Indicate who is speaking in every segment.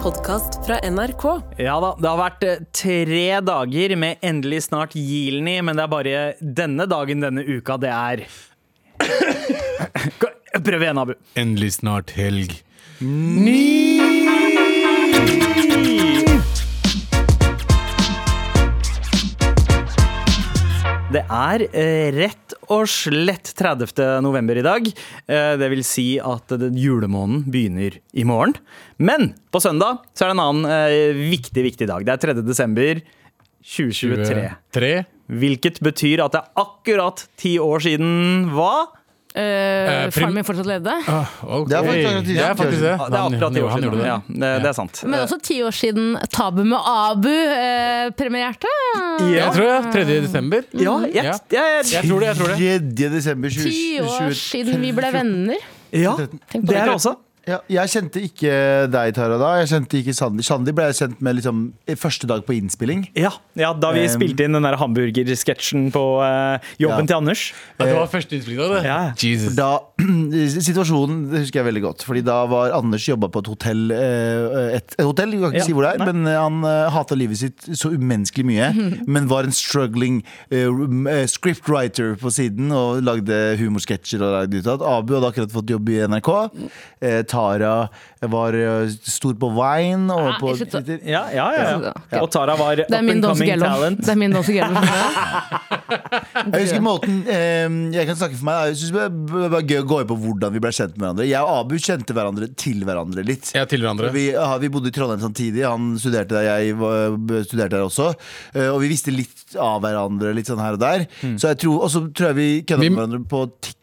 Speaker 1: podkast fra NRK.
Speaker 2: Ja da, det har vært eh, tre dager med endelig snart Gilni, men det er bare denne dagen denne uka det er Gå- Prøv igjen, Abu.
Speaker 3: Endelig snart helg.
Speaker 2: Det er eh, rett og slett 30. november i dag. Eh, det vil si at den julemåneden begynner i morgen. Men på søndag så er det en annen eh, viktig, viktig dag. Det er 3. desember 2023.
Speaker 3: Tre?
Speaker 2: Hvilket betyr at det er akkurat ti år siden hva?
Speaker 3: Eh, prim-
Speaker 4: Faren min fortsatt levde.
Speaker 3: Ah, ok.
Speaker 5: Det er faktisk akkurat ti
Speaker 3: Det er
Speaker 5: år
Speaker 3: faktisk det.
Speaker 5: siden.
Speaker 2: Ja, Ah, Det er akkurat ti år
Speaker 3: han
Speaker 2: siden.
Speaker 3: gjorde det.
Speaker 2: Ja, det, det er sant.
Speaker 4: Men også ti år siden Tabu med Abu eh, premierte.
Speaker 3: Jeg tror det. 3. desember.
Speaker 2: Ja, jeg,
Speaker 3: Ja.
Speaker 2: jeg,
Speaker 3: Jeg tror det. jeg tror det
Speaker 5: 3. desember
Speaker 4: Ti år
Speaker 5: 2020.
Speaker 4: siden vi ble venner.
Speaker 2: ja,
Speaker 4: Tenk
Speaker 2: det
Speaker 4: på det.
Speaker 2: er det også.
Speaker 5: Ja, jeg kjente ikke deg, Tara, da. Jeg kjente ikke Sandi. Sandi ble jeg kjent med liksom, første dag på innspilling.
Speaker 2: Ja, ja da vi
Speaker 5: Um,
Speaker 2: spilte inn den der hamburgersketsjen på eh, jobben
Speaker 5: Ja.
Speaker 2: til Anders.
Speaker 3: Ehm. Ja, Det var første innspilling av det.
Speaker 2: Ja.
Speaker 3: Jesus.
Speaker 5: Da, situasjonen det husker jeg veldig godt. Fordi Da var Anders jobba på et hotell. eh, Et, et hotell, Vi kan ikke
Speaker 2: Ja,
Speaker 5: si hvor det
Speaker 2: nei.
Speaker 5: er, men han eh, hata livet sitt så umenneskelig mye. Men var en struggling eh, m- eh, scriptwriter på siden og lagde humorsketsjer. og lagde ut av det. Abu hadde akkurat fått jobb i NRK. Eh, Tara var eh, stor på Vine og
Speaker 4: Ah,
Speaker 5: på
Speaker 4: jeg slutter.
Speaker 5: Twitter.
Speaker 2: Ja, ja, ja, ja. Og Tara var up
Speaker 4: Det er min
Speaker 2: and
Speaker 4: Don
Speaker 2: coming
Speaker 4: Sigello.
Speaker 2: talent.
Speaker 4: Det er min Don Sigello.
Speaker 5: Jeg husker måten eh, Jeg kan snakke for meg. Jeg synes det var- det var gøy å gå inn på hvordan vi ble kjent med hverandre. Jeg og Abu kjente hverandre til hverandre litt.
Speaker 3: Jeg til hverandre.
Speaker 5: Vi, ja, vi bodde i Trondheim samtidig. Han studerte der, jeg var- studerte der også. Eh, Og vi visste litt av hverandre, litt sånn her og der. Så jeg tror, og så tror jeg vi kødda
Speaker 3: Hmm. Vi-
Speaker 5: med hverandre på, tik,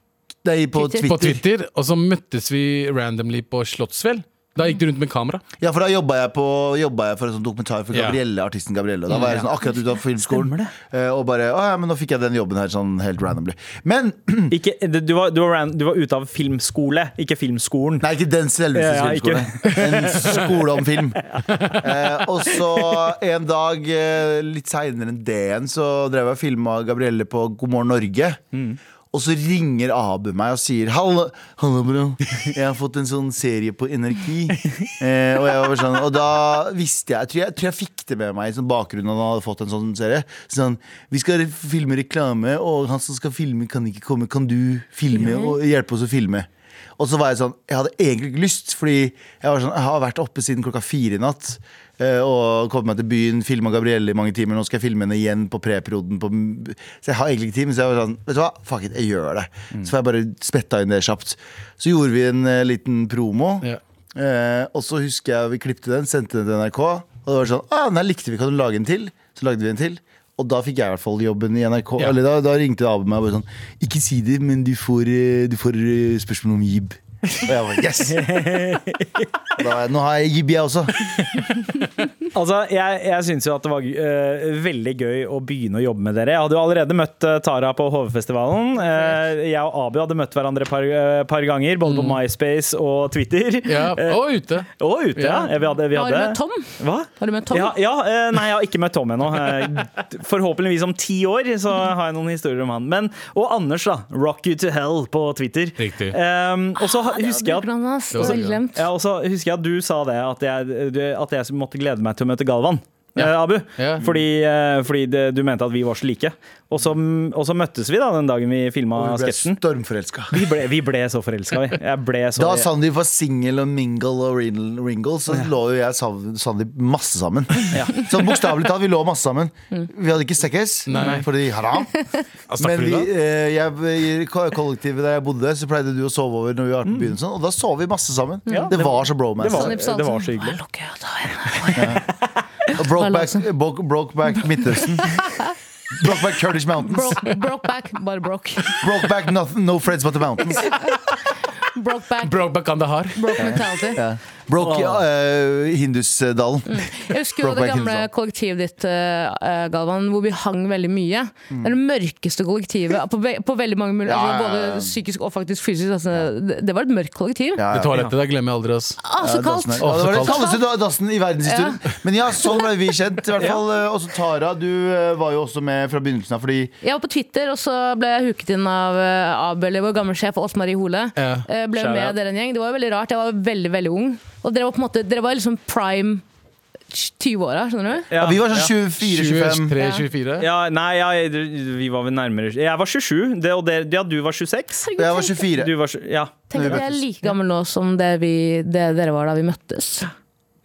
Speaker 5: nei, på
Speaker 4: Twitter.
Speaker 5: Twitter.
Speaker 3: På Twitter. Og så møttes vi randomly på Slottsfjell. Da gikk du rundt med kamera.
Speaker 5: Ja, for da jobba jeg, på- jobba jeg for en sånn dokumentar for
Speaker 3: Ja.
Speaker 5: Gabrielle, artisten Gabrielle. Og da var jeg sånn akkurat ute av filmskolen. eh, Og bare, å ja, men nå fikk jeg den jobben her sånn helt randomly. Men
Speaker 2: Ikke, du, var, du, var ran, du var ute av filmskole, ikke filmskolen.
Speaker 5: Nei, ikke den selveste
Speaker 2: Ja, ja,
Speaker 5: filmskolen. En skole om film. Eh, og så en dag eh, litt seinere enn det igjen, så drev jeg og filma Gabrielle på God morgen Norge.
Speaker 2: Mm.
Speaker 5: Og så ringer Abu meg og sier Hallo, hallo bro. Jeg har fått en sånn serie på NRK. Eh, og, jeg var bare sånn, og da visste jeg tror, jeg tror jeg fikk det med meg i sånn bakgrunnen at han hadde fått en sånn serie. Sånn, Vi skal re- filme reklame, og han som skal filme, kan ikke komme. Kan du filme og hjelpe oss å filme? Og så var jeg sånn, jeg hadde egentlig ikke lyst Fordi jeg, var sånn, jeg har vært oppe siden klokka fire i natt eh, Og kommet meg til byen Filmet Gabrielle i mange timer Nå skal jeg filme henne igjen på preperioden på, Så jeg har egentlig ikke tid Men så jeg var sånn, vet du hva? Fuck it, jeg gjør det Så får jeg bare spetta inn det kjapt Så gjorde vi en eh, liten promo
Speaker 3: Ja.
Speaker 5: eh, Og så husker jeg vi klippte den Sendte den til NRK Og det var sånn, ah, den her likte vi, kan du lage en til? Så lagde vi en til og da fikk jeg i hvert fall jobben i NRK
Speaker 3: Ja.
Speaker 5: Eller da, da ringte Abu meg og bare sånn Ikke si det, men du får, eh, du får eh, spørsmål om jib og jeg var, yes! Da, var jeg- nå har jeg jib, jeg også.
Speaker 2: Altså, jeg, jeg syns jo at det var eh, veldig gøy å begynne å jobbe med dere. Jeg hadde jo allerede møtt eh, Tara på HV-festivalen. Eh, jeg og Abu hadde møtt hverandre et par, eh, par ganger, både på MySpace og Twitter.
Speaker 3: Mm. Ja,
Speaker 2: Eh,
Speaker 3: Og ute.
Speaker 2: og ute, ja.
Speaker 3: Ja.
Speaker 2: Vi hadde, vi
Speaker 4: Har du
Speaker 2: hadde.
Speaker 4: møtt Tom?
Speaker 2: Hva?
Speaker 4: Har du møtt Tom?
Speaker 2: Ja, ja, eh, nei, jeg har ikke møtt Tom ennå. Eh, Forhåpentligvis om ti år så har jeg noen historier om han. Men, og Anders, da. Rock you to hell på Twitter.
Speaker 3: Riktig.
Speaker 2: Eh, og så
Speaker 4: Ja,
Speaker 2: husker jeg at
Speaker 4: det var bra, ass.
Speaker 3: Det var
Speaker 4: Veldig
Speaker 3: veldig
Speaker 4: glemt.
Speaker 2: ja, og så husker jeg at du sa det, at jeg, du- at jeg måtte glede meg til å møte Galvan. eh, Abu,
Speaker 3: Ja.
Speaker 2: fordi, eh, fordi det, du mente at vi var så like. Og så, og så møttes vi da den dagen vi filma
Speaker 5: Og vi ble
Speaker 2: sketsjen.
Speaker 5: stormforelska.
Speaker 2: Vi ble, vi ble så forelska, vi. Jeg ble så
Speaker 5: Da Sandeep var singel og mingle og rin- ringle, så lå jo jeg og Sandeep masse sammen. Så bokstavelig talt, vi lå masse sammen. Vi hadde ikke sekkes, fordi haram. Men vi, eh, jeg, i ko- kollektivet der jeg bodde, så pleide du å sove over når vi var på byen, og sånn, og da sov vi masse sammen.
Speaker 2: Ja,
Speaker 5: Det
Speaker 2: det-
Speaker 5: var så
Speaker 2: det var,
Speaker 5: bromance.
Speaker 4: Sandeep sa
Speaker 2: det var så
Speaker 4: sånn,
Speaker 2: hyggelig.
Speaker 4: «Lukk øya, da er jeg
Speaker 5: Og Brokeback broke, brokeback Midtøsten. Brokeback Kurdish Mountains.
Speaker 4: Broke, broke back, bare broke.
Speaker 5: Brokeback no, no Friends But The Mountains.
Speaker 4: Broke back,
Speaker 3: Brokeback Kandahar.
Speaker 4: broke mentality.
Speaker 5: Broke eh, Hindusdalen.
Speaker 4: Jeg husker jo det
Speaker 5: Brokeback
Speaker 4: gamle
Speaker 5: Hillsong.
Speaker 4: kollektivet ditt, eh, Galvan, hvor vi hang veldig mye.
Speaker 2: Mm.
Speaker 4: Det er det mørkeste kollektivet på, ve på veldig mange muligheter. altså,
Speaker 5: Ja, ja, ja.
Speaker 4: Både psykisk og faktisk fysisk. Altså, det, det var et mørkt kollektiv.
Speaker 5: Ja,
Speaker 3: Det
Speaker 5: ja.
Speaker 3: toalettet der glemmer jeg aldri, ass.
Speaker 4: Ah, så kaldt!
Speaker 5: Dassen her. Ja, det var
Speaker 3: Å,
Speaker 5: den
Speaker 3: så kaldt.
Speaker 5: kaldeste da- dassen i verdenshistorien. Men ja, sånn ble vi kjent. I hvert fall eh, Også Tara, du eh, var jo også med fra begynnelsen av. Fordi
Speaker 4: Jeg var på Twitter, og så ble jeg huket inn av eh, Abel, vår gamle sjef, Åse Marie Hole.
Speaker 3: Ja.
Speaker 4: Eh, Ble
Speaker 2: Shout out.
Speaker 4: med dere en gjeng. Det var jo veldig rart. Jeg var veldig veldig ung. Og dere var på en måte Dere var liksom prime 20-åra, skjønner du?
Speaker 5: Ja, vi var sånn 24-25.
Speaker 3: 23-24.
Speaker 2: Ja, nei, ja, vi var vel nærmere Jeg var 27, det, og det, ja, du var 26.
Speaker 5: Og jeg var
Speaker 4: tenk,
Speaker 5: 24.
Speaker 2: Du var, sju- ja.
Speaker 4: tenk at jeg er like gammel nå som det, vi, det dere var da vi møttes.
Speaker 2: Ja.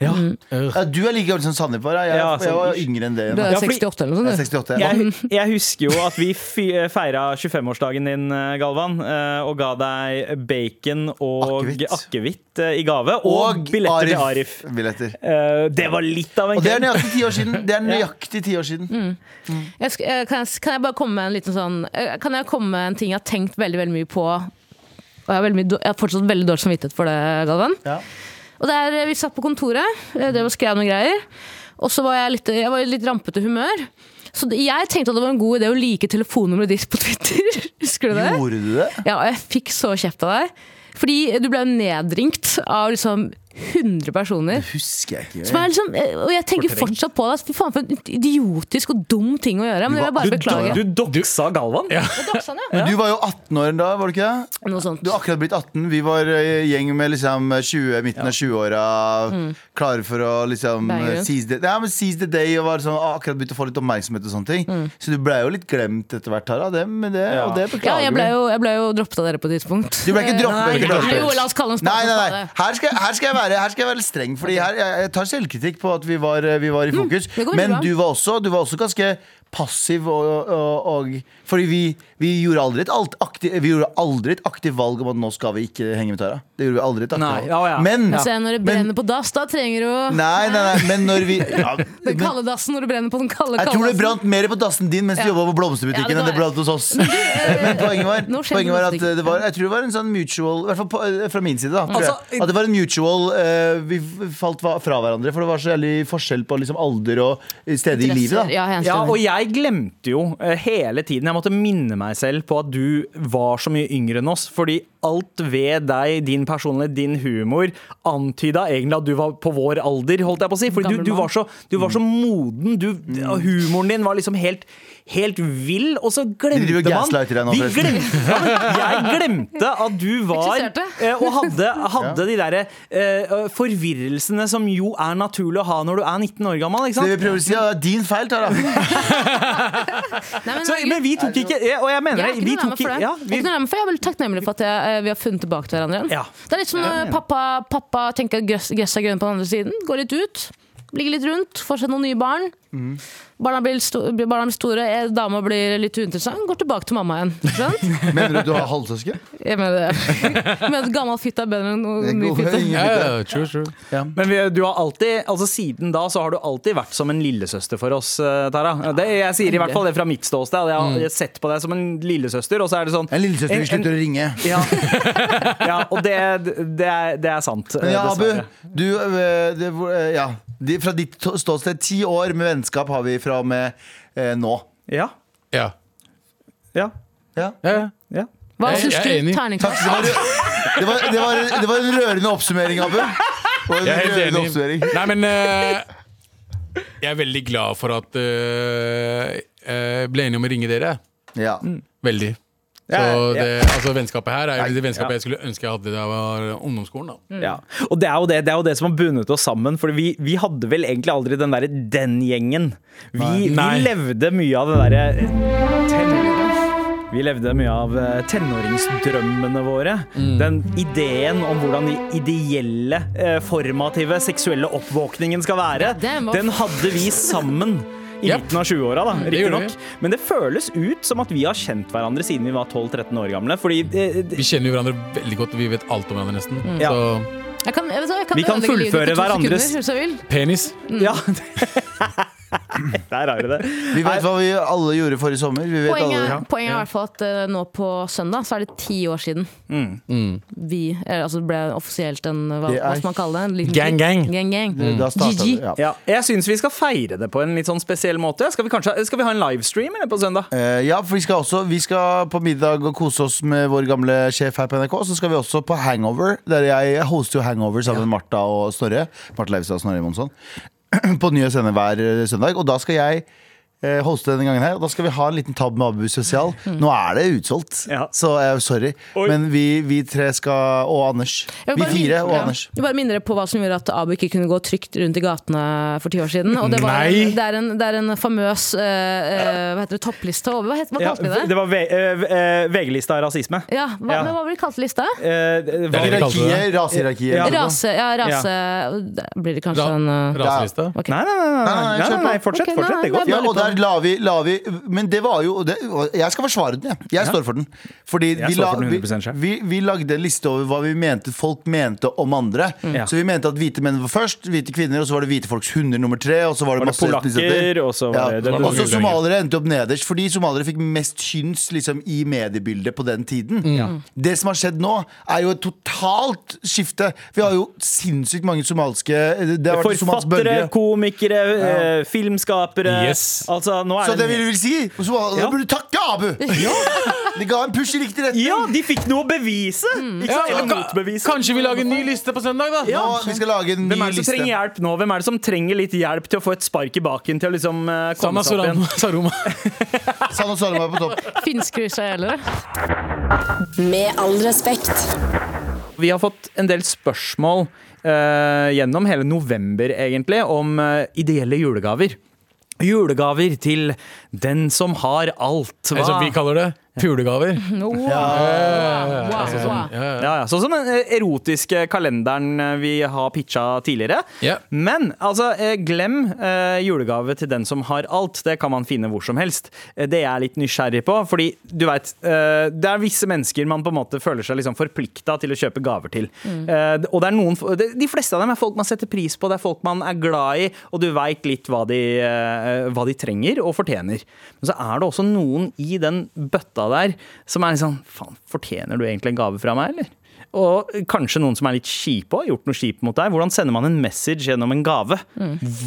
Speaker 5: Ja, du er like gammel som Sandeep var. Jeg,
Speaker 2: Ja,
Speaker 5: jeg, jeg var
Speaker 2: sånn.
Speaker 5: yngre enn det.
Speaker 4: Du er
Speaker 2: Ja, fordi-
Speaker 4: 68 eller
Speaker 5: Jeg
Speaker 4: noe
Speaker 5: er
Speaker 4: sånt.
Speaker 5: 68.
Speaker 2: Jeg, jeg husker jo at vi fy- feira 25-årsdagen din, eh, Galvan, eh, og ga deg bacon og
Speaker 5: Akevitt.
Speaker 2: akevitt eh, i gave. Og, billetter til Arif.
Speaker 5: Billetter.
Speaker 2: Eh, Det var litt av en
Speaker 5: Og det er
Speaker 2: kveld.
Speaker 5: nøyaktig ti år siden. Det er nøyaktig ti år siden.
Speaker 4: Jeg sk- eh, kan, jeg, s- kan jeg bare komme med en liten sånn eh, Kan jeg komme med en ting jeg har tenkt veldig veldig mye på? Og jeg har, veldig mye, dår- jeg har fortsatt veldig dårlig samvittighet for det, Galvan.
Speaker 5: Ja.
Speaker 4: Og der, eh, Vi satt på kontoret, eh, det var skrev noen greier. Og så var jeg litt, jeg var i litt rampete humør. Så det- jeg tenkte at det var en god idé å like telefonnummeret ditt på Twitter. Husker du det?
Speaker 5: Gjorde du det?
Speaker 4: Ja, og jeg fikk så kjeft av deg. Fordi du ble nedringt av liksom 100 personer.
Speaker 5: Husker jeg
Speaker 4: Som
Speaker 5: ikke.
Speaker 4: er liksom, og jeg tenker fortsatt på det. altså, Fy faen, for en idiotisk og dum ting å gjøre. Men det vil jeg bare beklage.
Speaker 2: Du doksa Galvan.
Speaker 4: Doksa han, ja.
Speaker 5: Men du var jo 18 år da, var du ikke det?
Speaker 4: Noe sånt.
Speaker 5: Du har akkurat blitt 18. Vi var eh, gjeng med liksom 20, midten av 20-åra. Klare for å liksom
Speaker 4: Mm. Bang
Speaker 5: eh,
Speaker 4: rundt.
Speaker 5: seize the, ja, men seize the day og var sånn, ah, akkurat begynt å få litt oppmerksomhet. og sånne ting Så du ble jo litt glemt etter hvert, Tara. Det, men det,
Speaker 2: Ja.
Speaker 5: Og det
Speaker 4: Mm. Ja,
Speaker 5: beklager
Speaker 4: jeg ble, jo, jeg ble jo droppet av dere på et tidspunkt.
Speaker 5: Du ble ikke droppet,
Speaker 4: Nei,
Speaker 5: du ble ikke
Speaker 4: nei,
Speaker 5: droppet.
Speaker 4: Jo, la oss kalle en spade
Speaker 5: Nei,
Speaker 4: for
Speaker 5: nei, nei.
Speaker 4: spade.
Speaker 5: Her skal, her, skal jeg være, her skal jeg være streng, Fordi her, jeg, jeg tar selvkritikk på at vi var, eh, vi var i fokus.
Speaker 4: Mm, det går veldig
Speaker 5: men
Speaker 4: bra.
Speaker 5: du var, også, du var også ganske passiv. Og, og, og, fordi vi, vi, gjorde aldri et alt aktiv, vi gjorde aldri et aktivt valg om at nå skal vi ikke henge med Tara. Det gjorde vi aldri et aktivt
Speaker 2: Nei,
Speaker 5: valg.
Speaker 2: ja, ja.
Speaker 5: Men,
Speaker 4: Men se, Altså, når det
Speaker 5: men-
Speaker 4: brenner på dass, da trenger du
Speaker 5: nei, nei, nei, men når vi ja,
Speaker 4: den
Speaker 5: men,
Speaker 4: kalde dassen. Når det brenner på den kalde
Speaker 5: Jeg tror
Speaker 4: kalde dassen.
Speaker 5: det brant mer på dassen din mens du
Speaker 4: Ja. Ja,
Speaker 5: jobba på
Speaker 4: det
Speaker 5: blomsterbutikken enn det
Speaker 4: var-
Speaker 5: brant hos oss. Men poenget var,
Speaker 4: eh, Nå skjedde
Speaker 5: poenget var at
Speaker 4: blomsterbutikken.
Speaker 5: det var Jeg tror det var en sånn mutual I hvert fall på- eh, fra min side, da. Tror
Speaker 2: Altså,
Speaker 5: jeg. At det var en mutual eh, Vi falt hva- fra hverandre, for det var så jævlig forskjell på liksom alder og stedet i livet, da.
Speaker 4: Ja, jeg er helt
Speaker 2: Ja,
Speaker 4: enig.
Speaker 2: og jeg glemte jo eh, hele tiden. Jeg måtte minne meg selv på at du var så mye yngre enn oss. Fordi alt ved deg, din personlighet, din humor, antyda egentlig at du var på vår alder, holdt jeg på å si. Fordi du,
Speaker 4: Gammel
Speaker 2: du,
Speaker 4: mann.
Speaker 2: var, så, du var
Speaker 5: Mm.
Speaker 2: så moden. Du, ja, humoren din var liksom helt Helt vill, og så glemte
Speaker 5: driver og
Speaker 2: man
Speaker 5: gaslighter deg nå,
Speaker 2: Vi
Speaker 5: forresten.
Speaker 2: glemte, ja, men Jeg glemte at du var
Speaker 4: Eksisterte.
Speaker 2: eh, Og hadde, hadde de derre eh, forvirrelsene som jo er naturlig å ha når du er 19 år gammel. Ikke sant?
Speaker 5: Det vi prøver å si, ja, det er din feil, Tara.
Speaker 4: Nei, men
Speaker 2: Så,
Speaker 4: herregud.
Speaker 2: men vi tok ikke ja, Og jeg mener
Speaker 4: Jeg
Speaker 2: det.
Speaker 4: er ikke
Speaker 2: Vi tok ikke ja, vi,
Speaker 4: noe nærmere for det. Jeg er ikke noe nærmere, for jeg er veldig takknemlig for at jeg, eh, vi har funnet tilbake til hverandre igjen.
Speaker 2: Ja.
Speaker 4: Det er litt som når pappa, pappa tenker at gress, gress er grønt på den andre siden. Går litt ut, ligger litt rundt, får seg noen nye barn.
Speaker 5: Mm.
Speaker 4: Barna, blir sto, blir- barna blir store, eh, dama blir litt uinteressant, går tilbake til mamma igjen. Ikke sant?
Speaker 5: Mener du at du har halvsøsken?
Speaker 4: Jeg mener, jeg mener at gammel fitte er bedre enn noe ny fitte.
Speaker 3: Ja,
Speaker 5: Mm.
Speaker 3: ja, true, true.
Speaker 2: men vi, du har alltid Altså siden da så har du alltid vært som en lillesøster for oss, eh, Tara. Det, jeg sier i hvert fall det fra mitt ståsted. Jeg har jeg har sett på deg som en lillesøster, og så er det sånn
Speaker 5: Mm. En lillesøster
Speaker 2: En-
Speaker 5: vi
Speaker 2: en-
Speaker 5: slutter å ringe.
Speaker 2: ja. ja, og det, det, er, det er sant.
Speaker 5: Men ja,
Speaker 2: eh,
Speaker 5: Abu,
Speaker 2: dessverre.
Speaker 5: du eh, det, hvor- eh, Ja. De- Fra ditt to- ståsted, ti år med vennskap har vi fra og med eh, nå.
Speaker 2: Ja,
Speaker 3: Ja.
Speaker 2: ja,
Speaker 5: Ja
Speaker 3: Ja, ja.
Speaker 2: ja.
Speaker 4: Hva
Speaker 3: Jeg-
Speaker 4: syns
Speaker 3: jeg er
Speaker 4: du?
Speaker 3: enig.
Speaker 4: Terningkast?
Speaker 5: Det var, det, var, det, var, det var en rørende oppsummering, Abu. Det var en
Speaker 3: Jeg er helt
Speaker 5: rørende
Speaker 3: enig.
Speaker 5: oppsummering.
Speaker 3: Nei, men eh, jeg er veldig glad for at eh, eh, ble enig om å ringe dere.
Speaker 5: Ja.
Speaker 3: Veldig. Så
Speaker 2: Ja, ja.
Speaker 3: det, altså, vennskapet her er jo det
Speaker 2: ja. Mm.
Speaker 3: vennskapet jeg skulle ønske jeg hadde da jeg var ungdomsskolen. Da.
Speaker 2: Ja. Og det er, jo det, det er jo det som har bundet oss sammen. For vi, vi hadde vel egentlig aldri den derre den-gjengen. Vi, vi
Speaker 3: Nei.
Speaker 2: levde mye av den derre eh, ten- Vi levde mye av eh, tenåringsdrømmene våre.
Speaker 3: Mm.
Speaker 2: Den ideen om hvordan de ideelle, eh, formative, seksuelle oppvåkningen skal være,
Speaker 4: den var-
Speaker 2: den hadde vi sammen. I
Speaker 3: Yep.
Speaker 2: midten av 20-åra, da.
Speaker 3: det gjorde
Speaker 2: Riktignok. Men det føles ut som at vi har kjent hverandre siden vi var 12-13 år gamle. Fordi eh,
Speaker 3: Vi kjenner jo hverandre veldig godt, og vi vet alt om hverandre nesten.
Speaker 2: Mm. Ja.
Speaker 3: Så
Speaker 4: Jeg kan, jeg vet, hva, jeg kan
Speaker 2: Vi kan
Speaker 4: ødelegge livet
Speaker 2: fullføre
Speaker 4: ditt på to
Speaker 2: hverandres-
Speaker 4: sekunder, hvis jeg vil.
Speaker 3: penis.
Speaker 2: Ja. Der har du det.
Speaker 5: Vi vet hva vi alle gjorde forrige sommer. Vi vet
Speaker 4: Poenget,
Speaker 5: alle.
Speaker 4: er- poenget er i hvert fall at eh, nå på søndag så er det ti år siden
Speaker 3: Mm.
Speaker 4: vi eller, altså det ble offisielt en hva,
Speaker 5: Mm. Det er
Speaker 4: hva skal man kalle det? En liten
Speaker 3: Gang, gang.
Speaker 4: gang, gang.
Speaker 5: Da startet
Speaker 4: GG.
Speaker 5: vi, ja.
Speaker 2: Ja, jeg syns vi skal feire det på en litt sånn spesiell måte. Skal vi, kanskje, skal vi ha en livestream eller, på søndag?
Speaker 5: Eh, ja, for vi skal også Vi skal på middag og kose oss med vår gamle sjef her på NRK. Så skal vi også på Hangover, der jeg hoster jo Hangover sammen med Martha og Snorre. Martha Leivestad og Snorre Monsson. På nye sender hver eh, søndag. Og da skal jeg eh, hoste denne gangen her. Og da skal vi ha en liten tab med Abu Sosial.
Speaker 4: Hmm.
Speaker 5: Nå er det utsolgt,
Speaker 2: Ja.
Speaker 5: så jeg er sorry.
Speaker 2: Oi.
Speaker 5: Men vi, vi tre skal Og Anders.
Speaker 4: Jeg vil
Speaker 5: Vi
Speaker 4: bare
Speaker 5: fire
Speaker 4: minne-
Speaker 5: og
Speaker 4: ja.
Speaker 5: Anders.
Speaker 4: Jeg bare minner dere på hva som gjorde at Abu ikke kunne gå trygt rundt i gatene for ti år siden. Og det, var,
Speaker 3: Nei.
Speaker 4: det, er, en, det er en famøs eh, eh, hva heter det, toppliste over Hva, het- hva
Speaker 2: Ja,
Speaker 4: kalte vi
Speaker 2: det
Speaker 4: det?
Speaker 2: var V- eh, v- eh, VG-lista av rasisme.
Speaker 4: Ja, hva,
Speaker 2: Ja.
Speaker 4: Men hva var det kalte lista?
Speaker 2: Eh, det
Speaker 3: det
Speaker 2: var-
Speaker 3: de kalte
Speaker 5: Hierarkiet, rasehierarkiet.
Speaker 2: Ja.
Speaker 5: etterpå.
Speaker 4: Rase, ja, rase Da Blir det kanskje
Speaker 3: Ra-
Speaker 2: Sånn,
Speaker 4: en eh,
Speaker 3: Raselista.
Speaker 4: ok.
Speaker 2: Nei, nei, nei, nei,
Speaker 5: Nei, nei,
Speaker 2: nei,
Speaker 5: kjør
Speaker 2: nei, nei
Speaker 5: på.
Speaker 2: fortsett.
Speaker 4: Ok,
Speaker 2: fortsett,
Speaker 4: nei,
Speaker 2: det går
Speaker 4: nei,
Speaker 2: fint.
Speaker 5: Ja,
Speaker 4: bare
Speaker 5: og
Speaker 4: litt
Speaker 5: der la vi, la vi Men det var jo det, og Jeg skal forsvare den, jeg. Jeg står for den. Fordi
Speaker 2: Jeg
Speaker 5: vi,
Speaker 2: står
Speaker 5: la,
Speaker 2: for den 100%
Speaker 5: vi,
Speaker 2: selv.
Speaker 5: vi, vi lagde en liste over hva vi mente folk mente om andre.
Speaker 2: Mm. Ja.
Speaker 5: Så vi mente at hvite menn var først, hvite kvinner, og så var det hvite folks hunder nummer tre. Og så var
Speaker 2: Var det
Speaker 5: det, masse etnisiteter.
Speaker 2: polakker, og så var det- det- det-
Speaker 5: Og så
Speaker 3: det-
Speaker 5: somaliere endte opp nederst, fordi somaliere fikk mest syns liksom, i mediebildet på den tiden. Det som har skjedd nå, er jo et totalt skifte. Vi har jo sinnssykt mange somalske Det har vært en somalsk
Speaker 2: Forfattere,
Speaker 5: bølge.
Speaker 2: komikere, eh, filmskapere.
Speaker 3: Yes.
Speaker 2: Altså, nå er
Speaker 5: Så det
Speaker 2: en-
Speaker 5: vil vil si så, Da
Speaker 2: Ja.
Speaker 5: burde du takke Abu! Det ga en push i riktig retning.
Speaker 2: Ja, de fikk noe å bevise! Ikke sant? Eller
Speaker 3: ka-
Speaker 2: motbevise.
Speaker 3: kanskje vi lager en ny liste på søndag, da?
Speaker 5: Nå, vi skal lage en ny
Speaker 2: Hvem er det som
Speaker 5: liste.
Speaker 2: trenger hjelp nå? Hvem er det som trenger litt hjelp til å få et spark i baken? Til å liksom eh, komme
Speaker 3: Sanna
Speaker 2: seg opp igjen?
Speaker 3: Sorama. Saroma.
Speaker 5: Sanne Salma er på topp.
Speaker 4: Finske israelere.
Speaker 1: Med all respekt.
Speaker 2: Vi har fått en del spørsmål eh, gjennom hele november, egentlig, om eh, ideelle julegaver. Julegaver til den som har alt.
Speaker 3: Eller som vi kaller det, pulegaver.
Speaker 4: No. Wow,
Speaker 3: Altså
Speaker 4: wow.
Speaker 3: sånn, ja, ja.
Speaker 2: Ja, ja. Sånn som den eh, erotiske kalenderen eh, vi har pitcha tidligere.
Speaker 3: Ja.
Speaker 2: Men altså, eh, glem eh, julegave til den som har alt. Det kan man finne hvor som helst. Eh, Det jeg er litt nysgjerrig på, fordi du veit eh, Det er visse mennesker man på en måte føler seg liksom forplikta til å kjøpe gaver til. Eh, og det er noen det- De fleste av dem er folk man setter pris på, det er folk man er glad i, og du veit litt hva de, eh, hva de trenger og fortjener. Men så er det også noen i den bøtta der som er litt sånn Faen, fortjener du egentlig en gave fra meg, eller? Og kanskje noen som er litt kjipe og har gjort noe kjipt mot deg. Hvordan sender man en message gjennom en gave?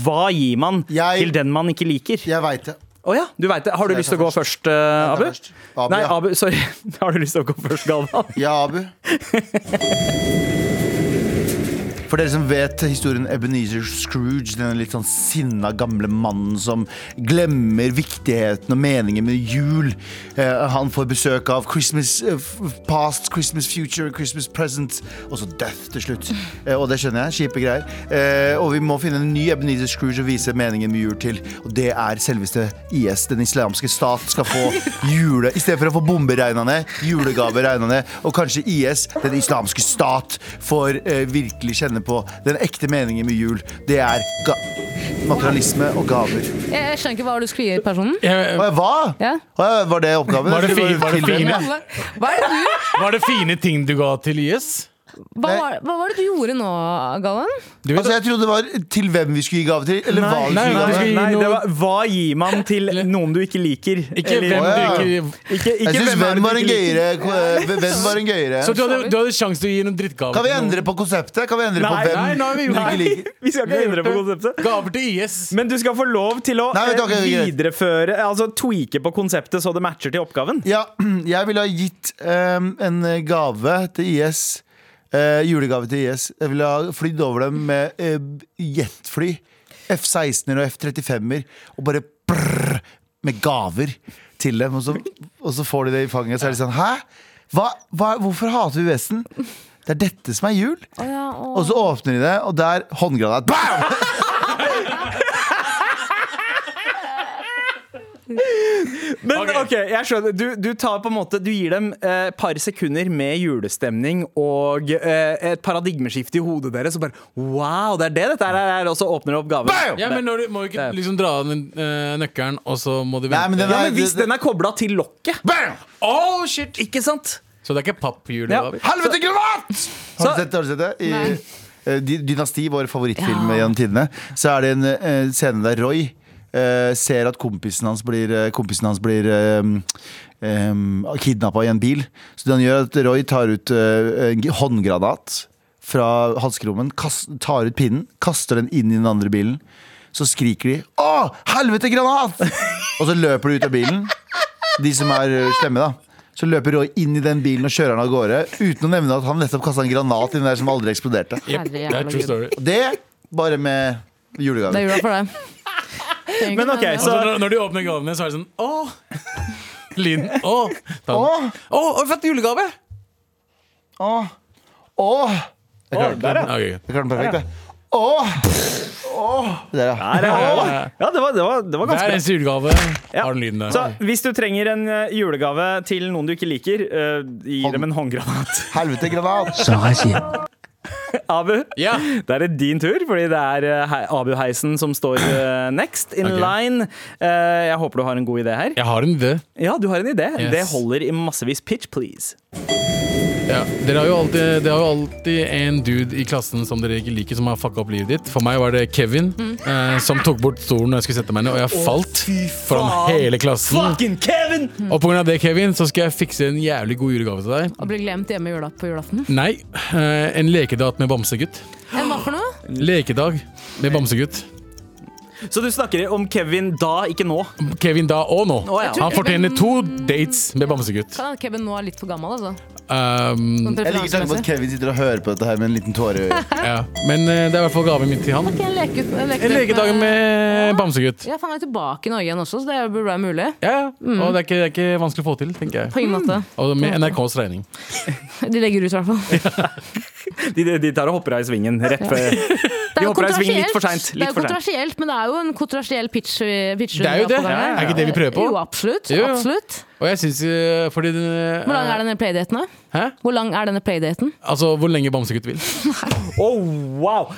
Speaker 2: Hva gir man
Speaker 5: Jeg-
Speaker 2: til den man ikke liker?
Speaker 5: Jeg veit det.
Speaker 2: Å ja, du vet det. Har du
Speaker 5: Jeg
Speaker 2: lyst til å
Speaker 5: tar
Speaker 2: gå først, eh,
Speaker 5: Jeg tar
Speaker 2: Abu?
Speaker 5: først. Abu,
Speaker 2: Nei,
Speaker 5: ja.
Speaker 2: Abu, sorry. Har du lyst til å gå først, Galvan?
Speaker 5: Ja, Abu. For dere som vet historien Ebenezer Scrooge, den litt sånn sinna gamle mannen som glemmer viktigheten og meningen med jul. Eh, han får besøk av Christmas eh, f- past, Christmas future, Christmas present, og så death til slutt. Eh, og det skjønner jeg, kjipe greier. Eh, og vi må finne en ny Ebenezer Scrooge å vise meningen med jul til. Og det er selveste IS, den islamske stat, skal få jule... I stedet for å få bomber regna ned, julegaver regna ned, og kanskje IS, den islamske stat, får eh, virkelig kjenne på den ekte meningen med jul. Det er ga materialisme og gaver.
Speaker 4: Jeg, jeg skjønner ikke hva du skulle gi personen.
Speaker 3: Jeg-
Speaker 5: Å, Hva?
Speaker 4: Ja.
Speaker 5: Å, Var det oppgaven?
Speaker 3: Var det
Speaker 5: Skulle
Speaker 3: fin-
Speaker 5: bare
Speaker 3: var det
Speaker 5: tilbe-
Speaker 3: fin- Fine.
Speaker 4: Hva, er det du,
Speaker 3: Var det fine ting du ga til IS?
Speaker 4: hva, var, hva var det du gjorde nå, Galvan?
Speaker 3: Du vet,
Speaker 5: Altså, jeg trodde det var til hvem vi skulle gi gave til. Eller hva vi
Speaker 3: nei,
Speaker 5: skulle gi
Speaker 3: nei,
Speaker 5: gave til.
Speaker 3: vi
Speaker 2: Nei,
Speaker 3: noe-
Speaker 2: det var, hva gir man til noen du ikke liker?
Speaker 3: ikke
Speaker 2: Eller-
Speaker 3: hvem
Speaker 5: Å,
Speaker 3: du
Speaker 5: ja.
Speaker 3: ikke
Speaker 2: Ikke, ikke
Speaker 5: Jeg
Speaker 2: hvem
Speaker 5: syns
Speaker 2: er det
Speaker 5: hvem
Speaker 2: du
Speaker 5: var en
Speaker 2: ikke liker?
Speaker 5: gøyere eh, Hvem var en gøyere
Speaker 3: Så du hadde, du hadde sjanse til å gi noen drittgaver?
Speaker 5: Kan vi
Speaker 3: til noen?
Speaker 5: endre på konseptet? Kan vi endre på
Speaker 2: Nei,
Speaker 5: hvem
Speaker 3: nei, nå har vi gjort
Speaker 5: du ikke liker?
Speaker 2: Vi skal ikke endre på konseptet.
Speaker 3: Gaver til IS.
Speaker 2: Men du skal få lov til å
Speaker 5: Nei, vet
Speaker 2: eh,
Speaker 5: du, ok, ok.
Speaker 2: videreføre Altså tweake på konseptet så det matcher til oppgaven.
Speaker 5: Ja, jeg ville ha gitt um, en gave til IS. eh, julegave til IS. Jeg ville ha flydd over dem med eh, jetfly. F-16-er og F-35-er. Og bare prrr, med gaver til dem. Og så, og så får de det i fanget, og så er de sånn Hæ? Hva, hva, hvorfor hater vi Vesten? Det er dette som er jul. Og så åpner de det, og der håndgranat. Bam!
Speaker 2: Men ok,
Speaker 3: Ok.
Speaker 2: jeg skjønner. Du, du tar på en måte Du gir dem et eh, par sekunder med julestemning og eh, et paradigmeskifte i hodet deres, og bare wow, det er det dette her er, og så åpner det opp gaven.
Speaker 3: Ja, men når du, må du ikke liksom dra av den eh, nøkkelen, og så må du vente?
Speaker 5: Nei, men den
Speaker 2: Ja, men
Speaker 5: er-
Speaker 2: hvis den er kobla til lokket,
Speaker 5: Bam!
Speaker 3: Oh, shit!
Speaker 2: ikke sant?
Speaker 3: Så det er ikke pappjulegaver?
Speaker 2: Ja.
Speaker 5: Helvete granat! Har du
Speaker 2: Så-
Speaker 5: sett, har du sett det? I,
Speaker 4: Nei.
Speaker 5: eh, Dy- Dynasti, vår favorittfilm
Speaker 4: Ja.
Speaker 5: gjennom tidene, så er det en eh, scene der Roy eh, ser at kompisen hans blir, eh, kompisen hans blir kidnappa i en bil. Så det han gjør, er at Roy tar ut eh, en g- håndgranat fra hanskerommet, kast- tar ut pinnen, kaster den inn i den andre bilen. Så skriker de 'Å, helvete, granat!' Og så løper de ut av bilen de som er ø, slemme, da. Så løper Roy inn i den bilen og kjører han av gårde uten å nevne at han nettopp kasta en granat inn der som aldri eksploderte.
Speaker 3: Jep,
Speaker 4: Herre
Speaker 3: det er
Speaker 4: jævla
Speaker 3: true
Speaker 4: Gud.
Speaker 3: story.
Speaker 5: Og det bare med
Speaker 4: Det er
Speaker 5: julegaver.
Speaker 4: jula for deg. vet egentlig.
Speaker 2: Men ok,
Speaker 4: det-
Speaker 2: så-
Speaker 3: Altså, når, når de åpner gavene, så er det sånn Åh! Linn. Åh! Ta den.
Speaker 5: Åh,
Speaker 3: Åh, har vi fått julegave?
Speaker 5: åh, åh. Jeg klarte det.
Speaker 3: Ja, ok, greit.
Speaker 5: Jeg klarte den perfekt, jeg. Åh! Åh! Der, ja.
Speaker 2: Nei, det var, ja, det var, det var, det var ganske
Speaker 3: Hver
Speaker 2: bra.
Speaker 3: eneste julegave har den lyden der.
Speaker 2: Så hvis du trenger en eh, julegave til noen du ikke liker, eh, gi dem en håndgranat.
Speaker 5: Helvete, granat.
Speaker 2: Abu,
Speaker 3: Ja.
Speaker 2: da er det din tur, fordi det er eh, hei- Abu-heisen som står eh, next in
Speaker 3: Ok.
Speaker 2: line. Eh, jeg håper du har en god idé her.
Speaker 3: Jeg har en idé.
Speaker 2: Ja, du har en idé.
Speaker 3: Yes.
Speaker 2: Det holder i massevis. Pitch, please.
Speaker 3: Ja. Dere har jo alltid, det har jo alltid en dude i klassen som dere ikke liker, som har fucka opp livet ditt. For meg var det Kevin,
Speaker 2: Mm.
Speaker 3: eh, som tok bort stolen når jeg skulle sette meg ned, og jeg falt foran hele klassen.
Speaker 2: Fucking Kevin!
Speaker 3: Og på grunn av det, Kevin, så skal jeg fikse en jævlig god julegave til deg.
Speaker 4: Å bli glemt hjemme jula, på julaften.
Speaker 3: Nei, eh, en lekedag med bamsegutt.
Speaker 4: Enn hva for noe?
Speaker 3: Lekedag med bamsegutt.
Speaker 2: Så du snakker om Kevin da, ikke nå?
Speaker 3: Kevin da og nå.
Speaker 2: Å, ja.
Speaker 3: Han fortjener to dates med bamsegutt.
Speaker 4: Kan hende Kevin nå er litt for gammel, altså.
Speaker 3: Um,
Speaker 4: Sånn
Speaker 5: Jeg liker tanken på at
Speaker 4: referansemessig.
Speaker 5: Kevin sitter og hører på dette her med en liten tåre i øyet.
Speaker 3: ja. Men eh, det er i hvert fall gaven min til han.
Speaker 4: Ok, jeg leker ut- jeg leker
Speaker 3: En
Speaker 4: ut
Speaker 3: lekedag med bamsegutt.
Speaker 4: Ja, for han er tilbake i Norge igjen også, så det burde være mulig.
Speaker 3: Ja, ja.
Speaker 2: Mm.
Speaker 3: Og det er, ikke, det er ikke vanskelig å få til, tenker jeg.
Speaker 4: På ingen måte.
Speaker 3: Og med NRKs regning.
Speaker 4: De legger ut, i hvert fall.
Speaker 2: De, de tar og hopper av i svingen rett før
Speaker 4: Det er jo
Speaker 2: hopper av i svingen litt
Speaker 4: kontroversielt.
Speaker 2: for sent,
Speaker 4: Det er
Speaker 2: litt
Speaker 4: jo
Speaker 2: for sent.
Speaker 4: kontroversielt, men det er jo en kontroversiell pitch. eh, pitch
Speaker 3: Det er jo det.
Speaker 2: ja, ja.
Speaker 3: Er ikke det vi prøver på?
Speaker 4: Jo, absolutt.
Speaker 3: Jo, jo.
Speaker 4: absolutt.
Speaker 3: Og jeg syns eh, fordi den, eh,
Speaker 4: Hvor lang er denne playdaten, da?
Speaker 3: Hæ?
Speaker 4: Hvor lang er denne playdaten?
Speaker 3: Altså, hvor lenge bamsegutt vil.
Speaker 2: Oh, wow!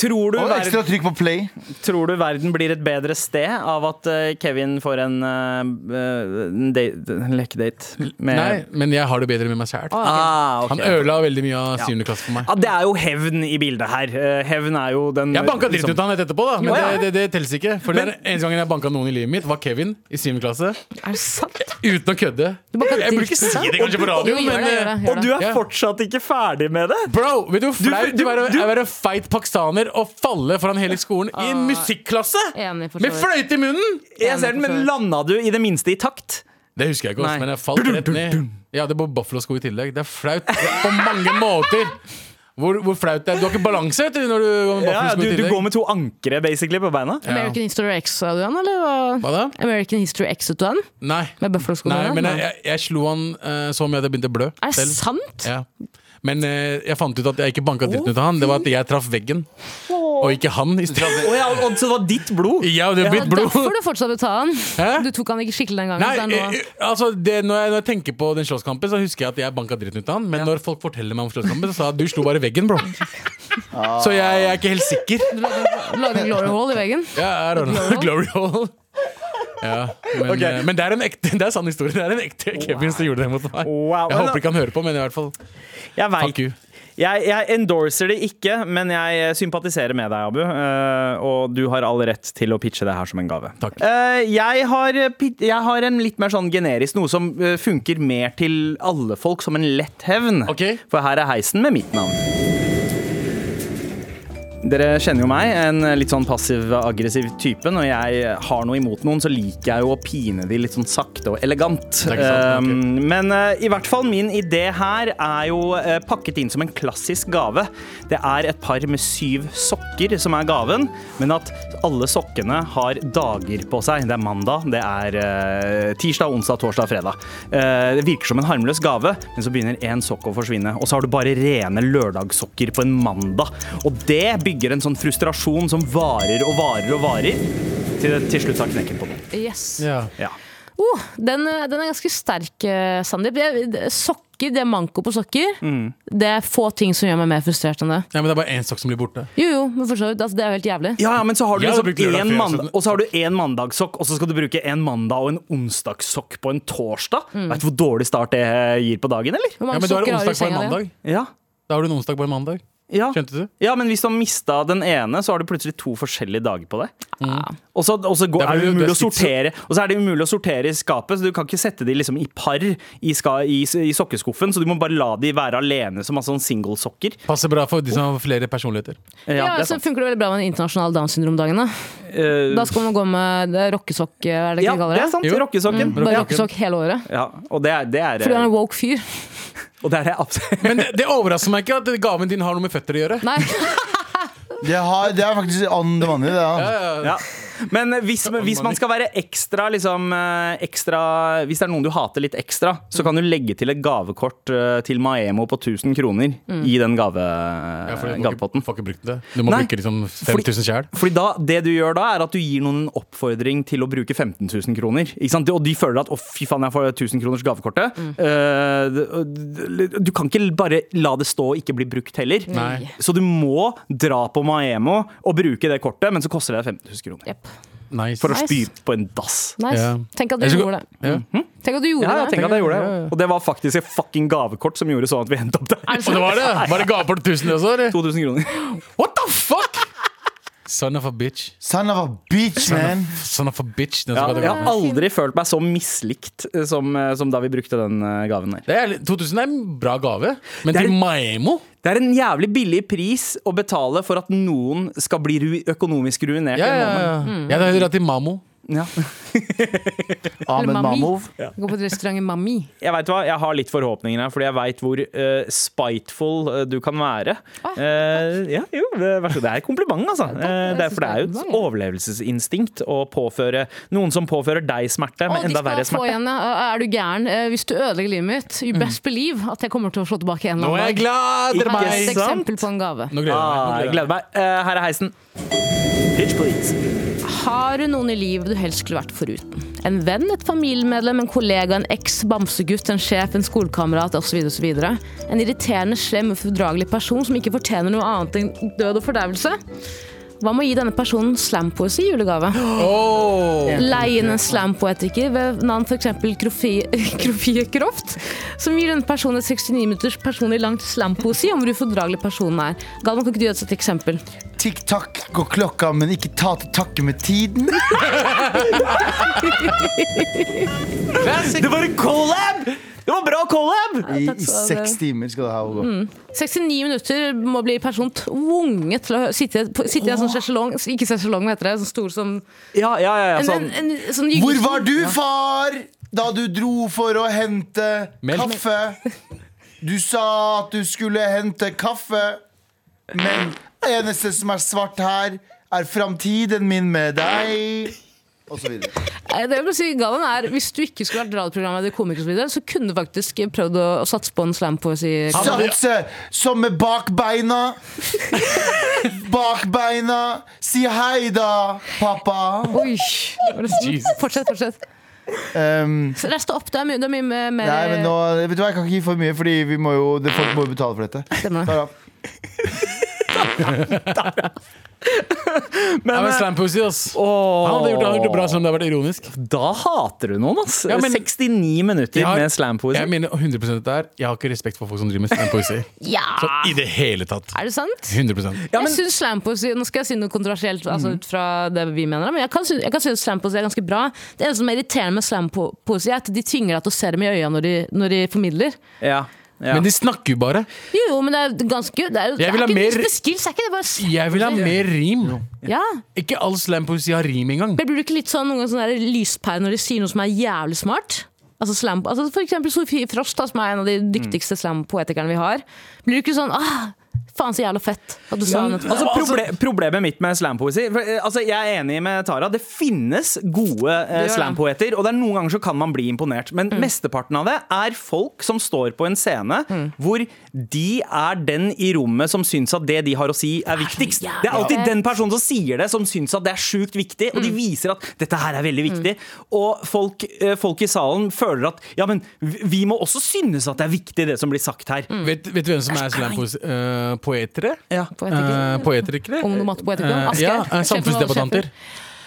Speaker 2: Tror du,
Speaker 5: Og
Speaker 2: verden,
Speaker 5: ekstra trykk på play.
Speaker 2: tror du verden blir et bedre sted av at eh, Kevin får en, eh, eh, en date- en lekedate med
Speaker 3: Nei, men jeg har det bedre med meg sjæl.
Speaker 2: Ah, ok.
Speaker 3: Han ødela veldig mye av 7. klasse for meg.
Speaker 2: Ja, det er jo hevn i bildet her. Eh, Hevn er jo den
Speaker 3: Jeg banka dritt
Speaker 2: liksom-
Speaker 3: ut av han rett etterpå, da, men
Speaker 2: Å, ja.
Speaker 3: det, det, det telles ikke. For det er den eneste gangen jeg banka noen i livet mitt, var Kevin i 7. klasse.
Speaker 4: Er det sant?
Speaker 3: Uten å kødde.
Speaker 4: banket
Speaker 3: Jeg burde
Speaker 4: dritt
Speaker 3: ikke
Speaker 4: ut av
Speaker 3: si det kanskje på
Speaker 4: Jo,
Speaker 3: radio,
Speaker 4: gjør
Speaker 3: men
Speaker 4: det, gjør det.
Speaker 3: eh,
Speaker 4: Gjør
Speaker 2: Og du er
Speaker 3: Ja.
Speaker 2: fortsatt ikke ferdig med det!
Speaker 3: Bro, vet du hvor
Speaker 2: du-
Speaker 3: flaut det er å-
Speaker 2: du-
Speaker 3: å være feit pakistaner og falle foran hele skolen
Speaker 4: Ah.
Speaker 3: i en musikklasse?
Speaker 4: Enig, for så
Speaker 3: Med
Speaker 4: vidt.
Speaker 3: fløyte i munnen!
Speaker 2: Jeg ser den, men landa du i det minste i takt?
Speaker 3: Det husker jeg ikke,
Speaker 2: Nei.
Speaker 3: også, men jeg falt rett ned. Jeg hadde på Buffalo-sko i tillegg. Det er flaut på mange måter. Hvor, hvor flaut det er. Du har ikke balanse vet du, når du går med
Speaker 2: Ja, ja,
Speaker 3: Buffalo-sko
Speaker 2: du,
Speaker 3: i
Speaker 2: du går
Speaker 3: tillegg.
Speaker 2: med to ankre basically på beina?
Speaker 4: American History X, sa du han, eller?
Speaker 3: Hva da?
Speaker 4: American History X, du han?
Speaker 3: Nei,
Speaker 4: Med bøffelsko?
Speaker 3: Nei men jeg, jeg, jeg slo han eh, så mye at jeg begynte å blø.
Speaker 4: Er det
Speaker 3: selv.
Speaker 4: sant?
Speaker 3: Ja. Men eh, jeg fant ut at jeg ikke banka dritten ut av han. Det var at jeg traff veggen, og ikke han. I stedet.
Speaker 2: Å ja, og så det var ditt blod?
Speaker 3: Ja, det er
Speaker 4: Det
Speaker 3: mitt
Speaker 4: er
Speaker 3: blod.
Speaker 4: derfor du fortsatt vil ta han.
Speaker 3: Hæ?
Speaker 4: Du tok han ikke skikkelig den gangen.
Speaker 3: Nei,
Speaker 4: så det er nå-
Speaker 3: eh, eh, altså det, når, jeg, når jeg tenker på den slåsskampen, så husker jeg at jeg banka dritten ut av han. Men når folk forteller meg om slåsskampen, så sa jeg at du slo bare veggen, bro. Så jeg, jeg er ikke helt sikker.
Speaker 4: Du lagde glory hole i veggen.
Speaker 3: Ja, jeg er Glory, Glory Hall. Ja, men,
Speaker 2: Ok.
Speaker 3: eh, men det er en ekte Det er sann historie. Det er en ekte Kevin som gjorde det mot meg.
Speaker 2: Wow. Men
Speaker 3: Jeg
Speaker 2: da-
Speaker 3: håper ikke han hører på, men i hvert fall
Speaker 2: Jeg
Speaker 3: fuck
Speaker 2: veit
Speaker 3: you.
Speaker 2: Jeg, jeg endorser det ikke, men jeg sympatiserer med deg, Abu. eh, og du har all rett til å pitche det her som en gave.
Speaker 3: Takk.
Speaker 2: Eh, jeg, har, pit- jeg har en litt mer sånn generisk, noe som eh, funker mer til alle folk, som en lett hevn.
Speaker 3: Ok.
Speaker 2: For her er heisen med mitt navn. Dere kjenner jo meg, en litt sånn passiv-aggressiv type. Når jeg har noe imot noen, så liker jeg jo å pine de litt sånn sakte og elegant.
Speaker 3: er ikke
Speaker 2: Um,
Speaker 3: sant, ok.
Speaker 2: men eh, i hvert fall min idé her er jo eh, pakket inn som en klassisk gave. Det er et par med syv sokker som er gaven, men at alle sokkene har dager på seg. Det er mandag, det er eh, tirsdag, onsdag, torsdag, fredag. Eh, det virker som en harmløs gave, men så begynner én sokk å forsvinne. Og så har du bare rene lørdagssokker på en mandag. Og det bygger en sånn frustrasjon som varer og varer og varer, til det til slutt har knekken på noen.
Speaker 4: Yes.
Speaker 3: Ja.
Speaker 2: Ja.
Speaker 4: Oh, den, eh, den er ganske sterk, eh, Sandeep. Jeg- det- Sokker, det er manko på sokker.
Speaker 3: Mm.
Speaker 4: Det er få ting som gjør meg mer frustrert enn det.
Speaker 3: men det er bare én sokk som blir borte.
Speaker 4: Jo, jo, men for så vidt. Altså, det er jo helt jævlig.
Speaker 2: Ja, ja, men så har du
Speaker 3: Jeg hadde
Speaker 2: liksom
Speaker 3: brukt lørdag
Speaker 2: en
Speaker 3: før,
Speaker 2: mandag,
Speaker 3: så-
Speaker 2: og så har du en mandagssokk, og så skal du bruke en mandag og en onsdagssokk på en torsdag.
Speaker 4: Mm.
Speaker 2: Vet du hvor dårlig start det eh, gir på dagen, eller?
Speaker 4: Hvor
Speaker 3: Ja,
Speaker 4: mange
Speaker 3: men du har
Speaker 4: sokker
Speaker 3: en
Speaker 4: har du i
Speaker 3: onsdag på en
Speaker 4: senga di?
Speaker 3: mandag.
Speaker 2: Ja.
Speaker 3: Da har du en onsdag på en mandag.
Speaker 2: Ja.
Speaker 3: Skjønte du?
Speaker 2: ja, men hvis du har mista den ene, så har du plutselig to forskjellige dager på deg.
Speaker 4: Mm.
Speaker 2: Og så, og så går,
Speaker 3: Det er
Speaker 2: er det
Speaker 3: fordi du-
Speaker 2: umulig å
Speaker 3: det er sitt-
Speaker 2: sortere Og så er det umulig å sortere i skapet, så du kan ikke sette de liksom i par i, ska, i, i sokkeskuffen, så du må bare la de være alene som altså, singlesokker.
Speaker 3: Passer bra for de som har flere personligheter.
Speaker 4: Ja,
Speaker 2: Ja, det er
Speaker 4: så
Speaker 2: sant.
Speaker 4: funker det veldig bra med den internasjonale Downs syndrom-dagen. Da.
Speaker 2: Eh,
Speaker 4: da skal man gå med det rockesokk, hva er det ikke
Speaker 2: ja,
Speaker 4: vi kaller
Speaker 2: det
Speaker 4: det?
Speaker 2: er sant.
Speaker 3: Jo. Mm.
Speaker 2: Rockesokken.
Speaker 4: Bare
Speaker 2: Ja.
Speaker 4: rockesokk hele året.
Speaker 2: Ja, og det er, det er,
Speaker 4: Fordi du er en woke fyr.
Speaker 2: og det er absolutt
Speaker 3: Men det, det overrasker meg ikke at gaven din har noe med føtter å gjøre.
Speaker 4: Nei,
Speaker 5: Det, har, det er faktisk an det vanlige, det. da.
Speaker 2: ja. Men eh, hvis, hvis man skal være ekstra, liksom, eh, ekstra Hvis det er noen du hater litt ekstra, så kan du legge til et gavekort eh, til Maemo på 1000 kroner i den gave,
Speaker 3: Ja, for du må ikke,
Speaker 2: Eh, gavepotten.
Speaker 3: får ikke brukt det. Du må
Speaker 2: Nei.
Speaker 3: bruke liksom
Speaker 2: Fordi-
Speaker 3: 5000 sjæl.
Speaker 2: Fordi da, Det du gjør da, er at du gir noen en oppfordring til å bruke 15 000 kroner. Ikke sant? Og de føler at 'å, fy faen, jeg får 1000 kroners gavekortet'. Eh, d- d- du kan ikke bare la det stå og ikke bli brukt heller.
Speaker 3: Nei.
Speaker 2: Så du må dra på Maemo og bruke det kortet, men så koster det 15 000 kroner.
Speaker 4: Jepp.
Speaker 3: Nice.
Speaker 2: For å
Speaker 4: Nice.
Speaker 2: spy på en dass.
Speaker 4: Nice.
Speaker 3: Ja.
Speaker 4: Tenk at du
Speaker 3: Jeg skal-
Speaker 4: gjorde det.
Speaker 3: Ja.
Speaker 2: Mhm.
Speaker 4: Tenk at du
Speaker 2: Ja,
Speaker 4: gjorde
Speaker 2: jeg
Speaker 4: det.
Speaker 2: tenker at jeg gjorde
Speaker 3: Ja,
Speaker 2: det
Speaker 3: ja, ja.
Speaker 2: Og det var faktisk et fucking gavekort som gjorde sånn at vi endte opp der.
Speaker 4: Er det
Speaker 3: Og det var det! Var det gapert 1000 også, eller?
Speaker 2: 2000 kroner.
Speaker 3: What the fuck?! Son of a bitch.
Speaker 5: Son of a bitch, man!
Speaker 3: Son of a bitch. Den
Speaker 2: Ja,
Speaker 3: som hadde
Speaker 2: jeg har
Speaker 3: gaven.
Speaker 2: aldri følt meg så mislikt eh, som, eh, som da vi brukte den eh, gaven der.
Speaker 3: det er, litt- 2000 er en bra gave, men
Speaker 2: Det er-
Speaker 3: til Maemo
Speaker 2: Det er en jævlig billig pris å betale for at noen skal bli ru økonomisk ruinert.
Speaker 3: Ja,
Speaker 2: i en
Speaker 3: ja, ja. Jeg hadde heller hatt til Mamo.
Speaker 2: måned. Ja.
Speaker 5: Ahmed
Speaker 4: Eller mami.
Speaker 5: Mamov.
Speaker 4: Gå på restauranten Mami.
Speaker 2: Jeg vet hva, jeg har litt forhåpninger her, fordi jeg veit hvor eh, spiteful eh, du kan være. Eh, ja, jo, det, vær så god. Det er et kompliment, altså. Eh, det er, for det er jo et overlevelsesinstinkt å påføre noen som påfører deg smerte,
Speaker 4: Å,
Speaker 2: men
Speaker 4: de
Speaker 2: enda
Speaker 4: skal
Speaker 2: verre
Speaker 4: få
Speaker 2: smerte. Mm.
Speaker 4: igjen, ja. Er du gæren? Eh, Hvis du ødelegger livet mitt, you best believe at jeg kommer til å slå tilbake en
Speaker 3: Nå
Speaker 4: eller
Speaker 3: er jeg
Speaker 4: annen
Speaker 3: glad! Dere
Speaker 4: dag.
Speaker 2: Ikke
Speaker 4: Her er
Speaker 3: meg!
Speaker 4: et
Speaker 2: sant?
Speaker 4: eksempel på en gave.
Speaker 3: Nå gleder jeg meg.
Speaker 2: Ah,
Speaker 3: Nå
Speaker 2: jeg
Speaker 3: gleder jeg meg.
Speaker 2: gleder meg. Eh, her er heisen. Pitch, please.
Speaker 4: Har du noen i livet du helst skulle vært foruten? En venn, et familiemedlem, en kollega, en eks, bamsegutt, en sjef, en skolekamerat osv. osv. En irriterende, slem, ufordragelig person som ikke fortjener noe annet enn død og fordervelse? Hva med å gi denne personen slampoesi i julegave? Leie inn en slampoetiker ved navn f.eks. Krofie Croft, som gir denne personen et 69 minutters personlig langt slampoesi om hvor ufordragelig personen er. Galvan, kan ikke du gi oss et eksempel?
Speaker 5: Tikk-takk går klokka, men ikke ta til takke med tiden.
Speaker 2: Det var en collab! Det var bra collab!
Speaker 5: I,
Speaker 4: takk skal du
Speaker 5: i
Speaker 4: ha.
Speaker 5: seks timer skal det her gå.
Speaker 4: 69 minutter må bli personen tvunget til å hø- sitte, på- sitte i en sånn sjeselong, ikke sjeselong, hva heter det, sånn stor som
Speaker 2: Ja, ja, ja, ja
Speaker 4: en, en,
Speaker 2: sånn.
Speaker 4: en, sånn gyngestol.
Speaker 5: Hvor var du, far, da du dro for å hente
Speaker 3: Melk.
Speaker 5: kaffe? Du sa at du skulle hente kaffe, men det eneste som er svart her, er framtiden min med deg. Og så videre.
Speaker 4: Eh, Det jeg vil si, Galvan er, Hvis du ikke skulle vært radioprogrammet eller komiker, og så, videre, så kunne du faktisk prøvd å, å satse på en slampoesi.
Speaker 5: Ah. Satse som med bakbeina. Bakbeina. Si hei da, pappa.
Speaker 4: Oi! det var nesten- Fortsett, fortsett.
Speaker 5: Um,
Speaker 4: Så Rest opp, det er mye, det er mye mer, mer
Speaker 5: nei, men nå, vet du hva, Jeg kan ikke gi for mye, Fordi vi må jo, det, folk må jo betale for dette.
Speaker 4: stemmer det.
Speaker 5: Tar av.
Speaker 3: Ja, men slampussy, ass. Han hadde gjort, han hadde gjort det bra selv om det hadde vært ironisk.
Speaker 2: Da hater du noen, ass.
Speaker 3: Ja, men-
Speaker 2: 69 minutter
Speaker 3: Jeg har-
Speaker 2: med
Speaker 3: Jeg
Speaker 2: slampoesi.
Speaker 3: mener 100 dette her. Jeg har ikke respekt for folk som driver med slampoesi.
Speaker 4: Ja!
Speaker 3: I det hele tatt.
Speaker 4: Er det sant?
Speaker 3: 100
Speaker 2: Ja, men-
Speaker 4: jeg synes slampoesi Nå skal jeg si noe kontroversielt
Speaker 3: Mhm.
Speaker 4: altså, ut fra det vi mener, men jeg kan, sy- jeg kan synes slampoesi er ganske bra. Det eneste som er irriterende med slampoesi, er at de tvinger deg til å se dem i øya når de, når de formidler.
Speaker 2: Ja, ja.
Speaker 3: Men de snakker jo bare.
Speaker 4: Jo, jo, men det er ganske Det er, jo- det
Speaker 3: Jeg
Speaker 4: er
Speaker 3: vil ha
Speaker 4: ikke
Speaker 3: mer-
Speaker 4: det er skills, er ikke det bare s-
Speaker 3: Jeg vil ha mer rim.
Speaker 4: Ja.
Speaker 3: Ikke all slampoesi har rim engang.
Speaker 4: Men blir du ikke litt sånn noen ganger sånn der lyspære når de sier noe som er jævlig smart? Altså, slam, altså For eksempel Sofie Frost, da, som er en av de
Speaker 3: Mm.
Speaker 4: dyktigste slampoetikerne vi har. Blir du ikke sånn ah, Faen, så jævla fett at du sa nettopp
Speaker 2: Altså, proble problemet mitt med slampoesi for, eh, altså, Jeg er enig med Tara. Det finnes gode eh,
Speaker 4: Det Mm. gjør det.
Speaker 2: slampoeter, og det er noen ganger så kan man bli imponert. Men mesteparten av det er folk som står på en scene
Speaker 4: Mm.
Speaker 2: hvor de er den i rommet som syns at det de har å si, er viktigst.
Speaker 4: jævlig
Speaker 2: Det er alltid
Speaker 4: fett.
Speaker 2: den personen som sier det, som syns at det er sjukt viktig,
Speaker 4: Mm.
Speaker 2: og de viser at dette her er veldig viktig. Og folk, eh, folk i salen føler at ja, men vi vi må også synes at det er viktig, det som blir sagt her.
Speaker 4: Mm.
Speaker 3: Vet, vet du hvem som er
Speaker 2: Ja,
Speaker 3: slampoetere? altså,
Speaker 4: Poetikere.
Speaker 3: Eh, Poeterikere?
Speaker 4: Ungdomsmatpoetikere. Asker.
Speaker 3: ja, eh,
Speaker 4: Sjefen
Speaker 3: samfunnsdebattanter.
Speaker 4: var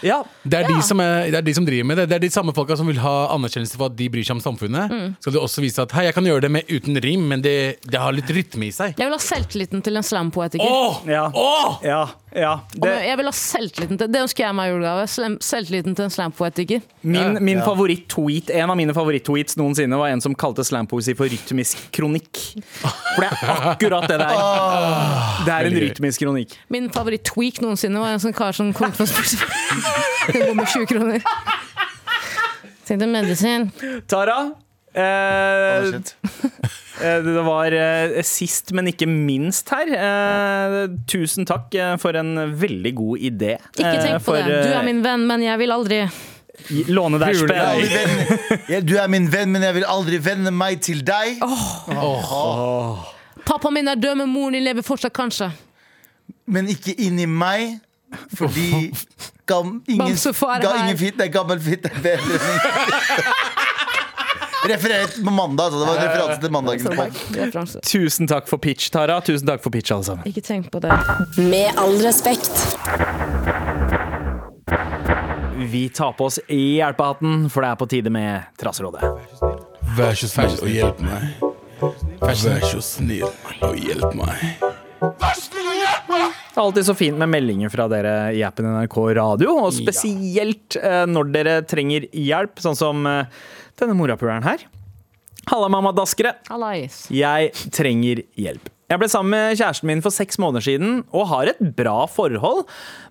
Speaker 2: ja.
Speaker 3: Det er, de som er, det er de som driver med det. Det er de samme folka som vil ha anerkjennelse for at de bryr seg om samfunnet.
Speaker 2: Mm.
Speaker 3: Skal du også vise at hei, jeg kan gjøre det med, uten rim, men det, det har litt rytme i seg.
Speaker 4: Jeg vil ha selvtilliten til en slampoetiker.
Speaker 3: Åh!
Speaker 2: Ja.
Speaker 3: Åh!
Speaker 2: Ja, ja.
Speaker 4: Om
Speaker 2: Det,
Speaker 4: jeg- Jeg vil ha selvtilliten til Det ønsker jeg meg i julegave. Slem- Selvtilliten til en slampoetiker.
Speaker 2: Min, min favoritt-tweet En av mine favoritt-tweets noensinne var en som kalte slampoesi for rytmisk kronikk. For det er akkurat det det er. Det er en
Speaker 3: Ah. Veldig gøy.
Speaker 2: rytmisk kronikk.
Speaker 4: Min favoritt-tweak noensinne var en sånn kar som kom ut med spørsmål. Den går med 20 kroner. Tenkte medisin.
Speaker 2: Tara, eh,
Speaker 5: Shit.
Speaker 2: Eh, Det var eh, sist, men ikke minst her. Eh, Tusen takk eh, for en veldig god idé.
Speaker 4: Ikke
Speaker 2: Eh,
Speaker 4: tenk på
Speaker 2: for,
Speaker 4: det. Du er
Speaker 2: eh,
Speaker 4: min venn, men jeg vil aldri
Speaker 2: gi- Låne deg
Speaker 3: Pule
Speaker 5: Jeg er
Speaker 2: spenn.
Speaker 5: aldri venn- Ja, Du er min venn, men jeg vil aldri venne meg til deg.
Speaker 4: Pappaen min er død, men moren din lever fortsatt, kanskje.
Speaker 5: Men ikke inni meg, fordi gam, ingen,
Speaker 4: Bamsefar
Speaker 5: ga,
Speaker 4: her.
Speaker 5: ingen fitt er gammel fitt er bedre enn ingen. Referert på mandag, altså. Det var en referanse til mandagens pod.
Speaker 4: Referanse.
Speaker 2: Tusen takk for pitch, Tara. Tusen takk for pitch, alle sammen.
Speaker 4: Ikke tenk på det.
Speaker 1: Med all respekt.
Speaker 2: Vi tar på oss hjelpehatten, for det er på tide med Traserådet.
Speaker 6: Vær så snill og hjelp meg. Vær så snill og hjelp meg.
Speaker 2: Det er alltid så fint med meldinger fra dere i appen NRK Radio, og spesielt eh, når dere trenger hjelp, sånn som eh, denne morapuleren her. Halla, mamma daskere.
Speaker 4: Hallais.
Speaker 2: Jeg trenger hjelp. Jeg ble sammen med kjæresten min for seks måneder siden og har et bra forhold,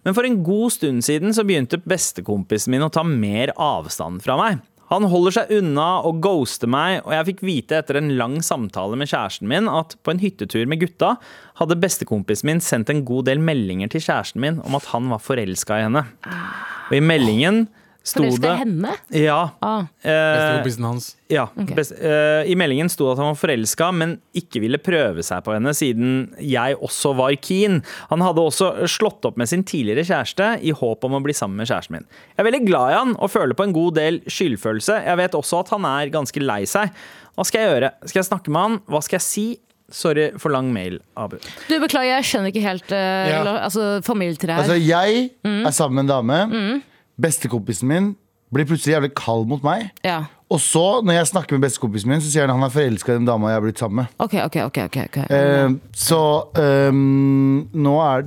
Speaker 2: men for en god stund siden så begynte bestekompisen min å ta mer avstand fra meg. Han holder seg unna og ghoster meg, og jeg fikk vite etter en lang samtale med kjæresten min at på en hyttetur med gutta hadde bestekompisen min sendt en god del meldinger til kjæresten min om at han var forelska i henne. Og i meldingen sto det
Speaker 4: Forelska i henne?
Speaker 2: Ja.
Speaker 4: Ah.
Speaker 2: Eh,
Speaker 3: Bestekompisen hans.
Speaker 2: ja, best, eh, I meldingen sto det at han var forelska, men ikke ville prøve seg på henne, siden jeg også var keen. Han hadde også slått opp med sin tidligere kjæreste i håp om å bli sammen med kjæresten min. Jeg er veldig glad i han og føler på en god del skyldfølelse. Jeg vet også at han er ganske lei seg. Hva skal jeg gjøre? Skal jeg snakke med han? Hva skal jeg si? Sorry for lang mail, Abu.
Speaker 4: Du, beklager, jeg skjønner ikke helt eh,
Speaker 3: Ja.
Speaker 4: la- altså, familietreet
Speaker 5: Altså,
Speaker 4: her.
Speaker 5: jeg
Speaker 4: Mm.
Speaker 5: er sammen med en dame. Bestekompisen min blir plutselig jævlig kald mot meg.
Speaker 4: ja.
Speaker 5: Og så, når jeg snakker med bestekompisen min, så sier han han er forelska i den dama jeg har blitt sammen med.
Speaker 4: OK, OK. ok, ok, ok.
Speaker 5: Eh, så eh, nå er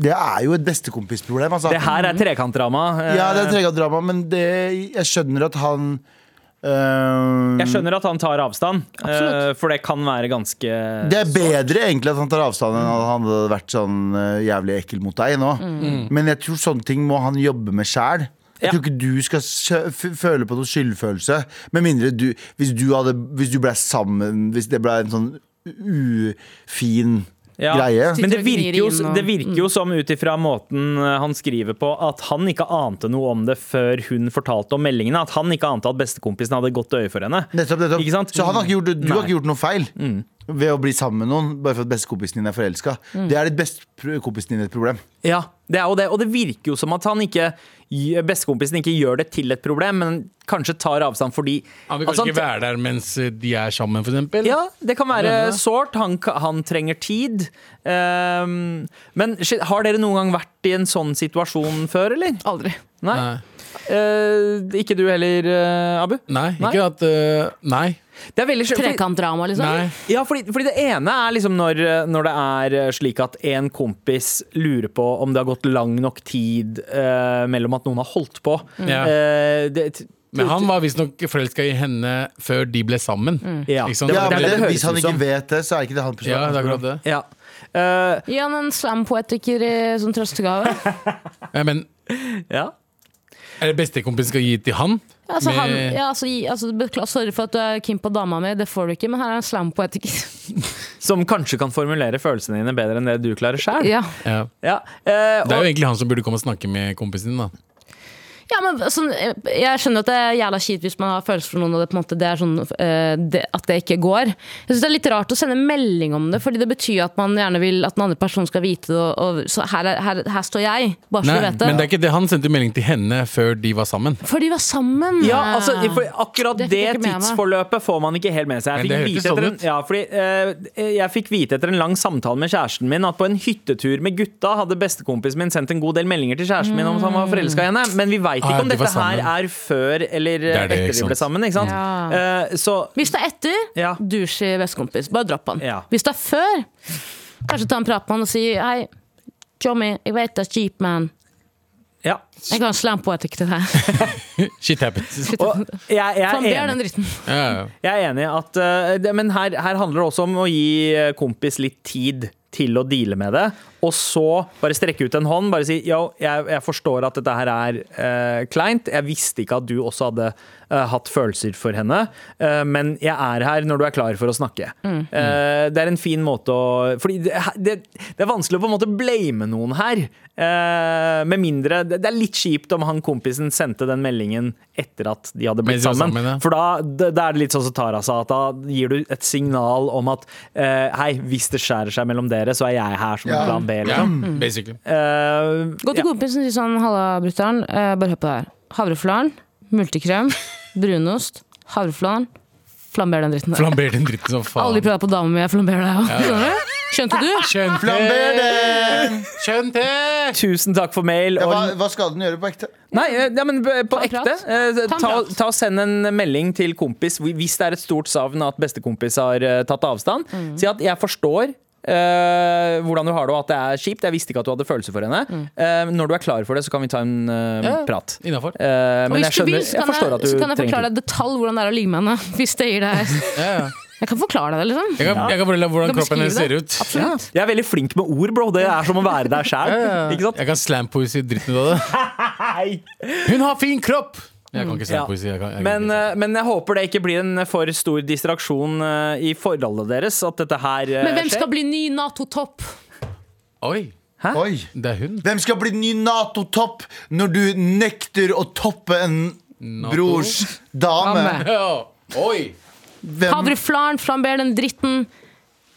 Speaker 5: Det er jo et bestekompisproblem, altså.
Speaker 2: Det her er trekantdrama. Eh,
Speaker 5: Ja, det er tregalt drama, men det, jeg skjønner at han eh,
Speaker 2: Jeg skjønner at han tar avstand, eh,
Speaker 4: Absolutt.
Speaker 2: for det kan være ganske
Speaker 5: Det er bedre egentlig at han tar avstand enn at han hadde vært sånn eh, jævlig ekkel mot deg nå. Men jeg tror sånne ting må han jobbe med sjæl. Jeg
Speaker 2: Mm. Ja.
Speaker 5: tror ikke du skal skjø- f- føle på noe skyldfølelse. Med mindre du Hvis du, hadde, hvis du ble sammen Hvis det ble en sånn ufin
Speaker 2: Ja.
Speaker 5: greie.
Speaker 2: Men det
Speaker 4: Sitter og gnir
Speaker 2: virker jo,
Speaker 4: inn og-
Speaker 2: det virker jo som ut ifra måten eh, han skriver på, at han ikke ante noe om det før hun fortalte om meldingene. At han ikke ante at bestekompisen hadde godt øye for henne.
Speaker 5: Nettopp, nettopp.
Speaker 2: Ikke sant?
Speaker 5: Så han har ikke gjort, du har
Speaker 2: Nei.
Speaker 5: ikke gjort noe feil ved å bli sammen med noen bare for at bestekompisen din er forelska. Det er ditt bestekompisen din et problem.
Speaker 2: Ja, det er jo det. Og det virker jo som at han ikke bestekompisen ikke gjør det til et problem, men kanskje tar avstand fordi
Speaker 3: Han vil kanskje
Speaker 2: Altså, han-
Speaker 3: ikke være der mens eh, de er sammen, for eksempel.
Speaker 2: Ja, det kan være
Speaker 3: Mener det.
Speaker 2: sårt. Han, ka- han trenger tid. Ehm, men shit, har dere noen gang vært i en sånn situasjon før, eller?
Speaker 4: Aldri.
Speaker 2: Nei.
Speaker 3: Nei.
Speaker 2: Eh, ikke du heller, eh, Abu?
Speaker 3: Nei,
Speaker 2: Nei.
Speaker 3: ikke at eh, Nei.
Speaker 2: Det er veldig skjønt, fordi-
Speaker 4: Trekantdrama, liksom?
Speaker 3: Nei.
Speaker 2: Ja, fordi, fordi det ene er liksom når, når det er eh, slik at en kompis lurer på om det har gått lang nok tid eh, mellom at noen har holdt på.
Speaker 3: Mm. Ja.
Speaker 2: Eh, det,
Speaker 3: Men han var visstnok forelska i henne før de ble sammen.
Speaker 2: Ja.
Speaker 3: Ikke sant?
Speaker 2: Det
Speaker 5: Ja,
Speaker 2: var
Speaker 5: men
Speaker 2: det
Speaker 5: det,
Speaker 2: det høres
Speaker 5: hvis han
Speaker 2: ut
Speaker 5: ikke
Speaker 2: som.
Speaker 5: vet det, så er ikke det han
Speaker 3: Ja, det er akkurat det.
Speaker 2: ja. Eh,
Speaker 4: Gi han en slampoetiker eh, som trøstegave.
Speaker 3: Ja, men
Speaker 2: ja.
Speaker 3: er det bestekompisen skal gi til han?
Speaker 4: Altså, han,
Speaker 3: Med-
Speaker 4: ja, altså, gi- altså, bekla- sorry for at du er keen på dama mi, det får du ikke, men her er en slampoetiker.
Speaker 2: Som kanskje kan formulere følelsene dine bedre enn det du klarer sjøl.
Speaker 4: ja.
Speaker 3: Ja.
Speaker 2: Ja. eh,
Speaker 3: Det er jo
Speaker 2: og-
Speaker 3: egentlig han som burde komme og snakke med kompisen din, da.
Speaker 4: Ja, men sånn, eh, Jeg skjønner at det er jævla kjipt hvis man har følelser for noen, og det, på en måte, det er sånn, eh, det, at det ikke går. Jeg synes Det er litt rart å sende melding om det, Fordi det betyr at man gjerne vil at den andre personen skal vite det. Og, og, så her, er- her, her står jeg, bare så
Speaker 3: Nei,
Speaker 4: du vet det.
Speaker 3: men det er ikke det. Han sendte melding til henne før de var sammen.
Speaker 4: For de var sammen!
Speaker 2: ja, altså, for akkurat det,
Speaker 4: Det fikk jeg ikke med meg.
Speaker 2: tidsforløpet får man ikke helt med seg. Jeg
Speaker 3: Men
Speaker 2: fikk,
Speaker 3: det hørtes
Speaker 2: vite etter
Speaker 3: sånn
Speaker 2: en,
Speaker 3: ut.
Speaker 2: ja, fordi, eh, jeg fikk vite etter en lang samtale med kjæresten min at på en hyttetur med gutta hadde bestekompisen min sendt en god del meldinger til kjæresten min om at han var forelska i henne. Men vi veit
Speaker 3: Ah,
Speaker 2: ikke
Speaker 3: ja,
Speaker 2: om
Speaker 3: de var
Speaker 2: dette her
Speaker 3: sammen.
Speaker 2: er før eller
Speaker 3: er det,
Speaker 2: etter
Speaker 3: ikke
Speaker 2: de ble
Speaker 3: sant?
Speaker 2: sammen. Ikke sant?
Speaker 4: Ja.
Speaker 2: Eh, så
Speaker 4: Hvis det er etter,
Speaker 2: Ja.
Speaker 4: douche i bestekompis. Bare dropp han.
Speaker 2: Ja.
Speaker 4: Hvis det er før, kanskje ta en prat med han og si Hei, Jommy, jeg vet det er kjipt, men
Speaker 2: ja.
Speaker 4: jeg kan slampoetiker til deg.
Speaker 3: Shit happens.
Speaker 2: Og jeg, jeg, er
Speaker 4: Så han ber
Speaker 2: enig,
Speaker 4: den dritten.
Speaker 3: Ja, ja.
Speaker 2: jeg er enig i at eh, det, Men her, her handler det også om å gi eh, kompis litt tid til å deale med det, og så bare strekke ut en hånd. Bare si yo, jeg, jeg forstår at dette her er eh, kleint. Jeg visste ikke at du også hadde eh, hatt følelser for henne, eh, men jeg er her når du er klar for å snakke. Eh, det er en fin måte å Fordi det, det, det er vanskelig å på en måte blame noen her. eh, med mindre det, det er litt kjipt om han kompisen sendte den meldingen etter at de hadde blitt
Speaker 3: Mens de var
Speaker 2: sammen.
Speaker 3: sammen, ja.
Speaker 2: For da, da da er det litt sånn som Tara sa, at da gir du et signal om at eh, hei, hvis det skjærer seg mellom dere, så er jeg her som en plan B.
Speaker 3: Ja,
Speaker 2: Liksom.
Speaker 3: basically.
Speaker 2: Eh,
Speaker 4: Gå til kompisen og si sånn Halla, brutter'n. eh, bare hør på det her. Havreflaren, multekrem, brunost, havreflaren. Flamber den dritten der.
Speaker 3: Flamber den dritten som
Speaker 4: Aldri
Speaker 3: faen.
Speaker 4: prøvd på dame, men jeg flamberer deg òg. Skjønte du?
Speaker 5: Flamber
Speaker 3: Skjønte!
Speaker 5: den!
Speaker 3: Skjønte!
Speaker 2: Tusen takk for mail.
Speaker 5: Ja,
Speaker 2: Og,
Speaker 5: hva, hva skal den gjøre på ekte?
Speaker 2: nei, eh, ja, men b- på
Speaker 4: Ta en
Speaker 2: ekte.
Speaker 4: prat.
Speaker 2: eh,
Speaker 4: Ta en
Speaker 2: ta,
Speaker 4: prat.
Speaker 2: ta og Send en melding til kompis hvis det er et stort savn at bestekompis har eh, tatt avstand.
Speaker 4: Mm.
Speaker 2: Si at 'jeg forstår'. eh, hvordan du har det og at det er kjipt. Jeg visste ikke at du hadde følelser for henne.
Speaker 4: Mm.
Speaker 2: Eh, når du er klar for det, så kan vi ta en eh,
Speaker 3: Ja.
Speaker 2: prat.
Speaker 3: Innafor.
Speaker 2: Eh,
Speaker 4: Og
Speaker 2: men jeg,
Speaker 4: hvis du
Speaker 2: skjønner,
Speaker 4: vil, så
Speaker 2: jeg
Speaker 4: kan
Speaker 2: forstår
Speaker 4: jeg,
Speaker 2: at du
Speaker 4: så kan jeg
Speaker 2: trenger
Speaker 4: forklare
Speaker 2: tid.
Speaker 4: deg i detalj hvordan det er å ligge med henne. Hvis det gir deg
Speaker 3: Ja, ja.
Speaker 4: Jeg kan forklare deg det, liksom.
Speaker 3: Jeg kan, jeg kan fortelle hvordan
Speaker 4: Kan
Speaker 3: kroppen hennes ser
Speaker 4: beskrive
Speaker 3: ut.
Speaker 4: Absolutt.
Speaker 2: Jeg er veldig flink med ord, bro. Det er som å være der sjæl. Ikke sant?
Speaker 3: Jeg kan slampoesi dritten ut av det. Hun har fin kropp! Jeg kan ikke slampoesi. Jeg kan,
Speaker 2: Mm.
Speaker 3: jeg kan
Speaker 2: Men,
Speaker 3: ikke.
Speaker 2: eh, men jeg håper det ikke blir en for stor distraksjon eh, i forholdet deres at dette her eh,
Speaker 4: Men hvem skal
Speaker 2: skjer.
Speaker 4: bli ny Nato-topp?
Speaker 3: Oi,
Speaker 5: Oi.
Speaker 3: det er hun.
Speaker 5: Hvem skal bli ny Nato-topp når du nekter å toppe en brors dame?
Speaker 3: Ja. Oi!
Speaker 5: Hvem?
Speaker 4: Havreflaren, flamber den dritten.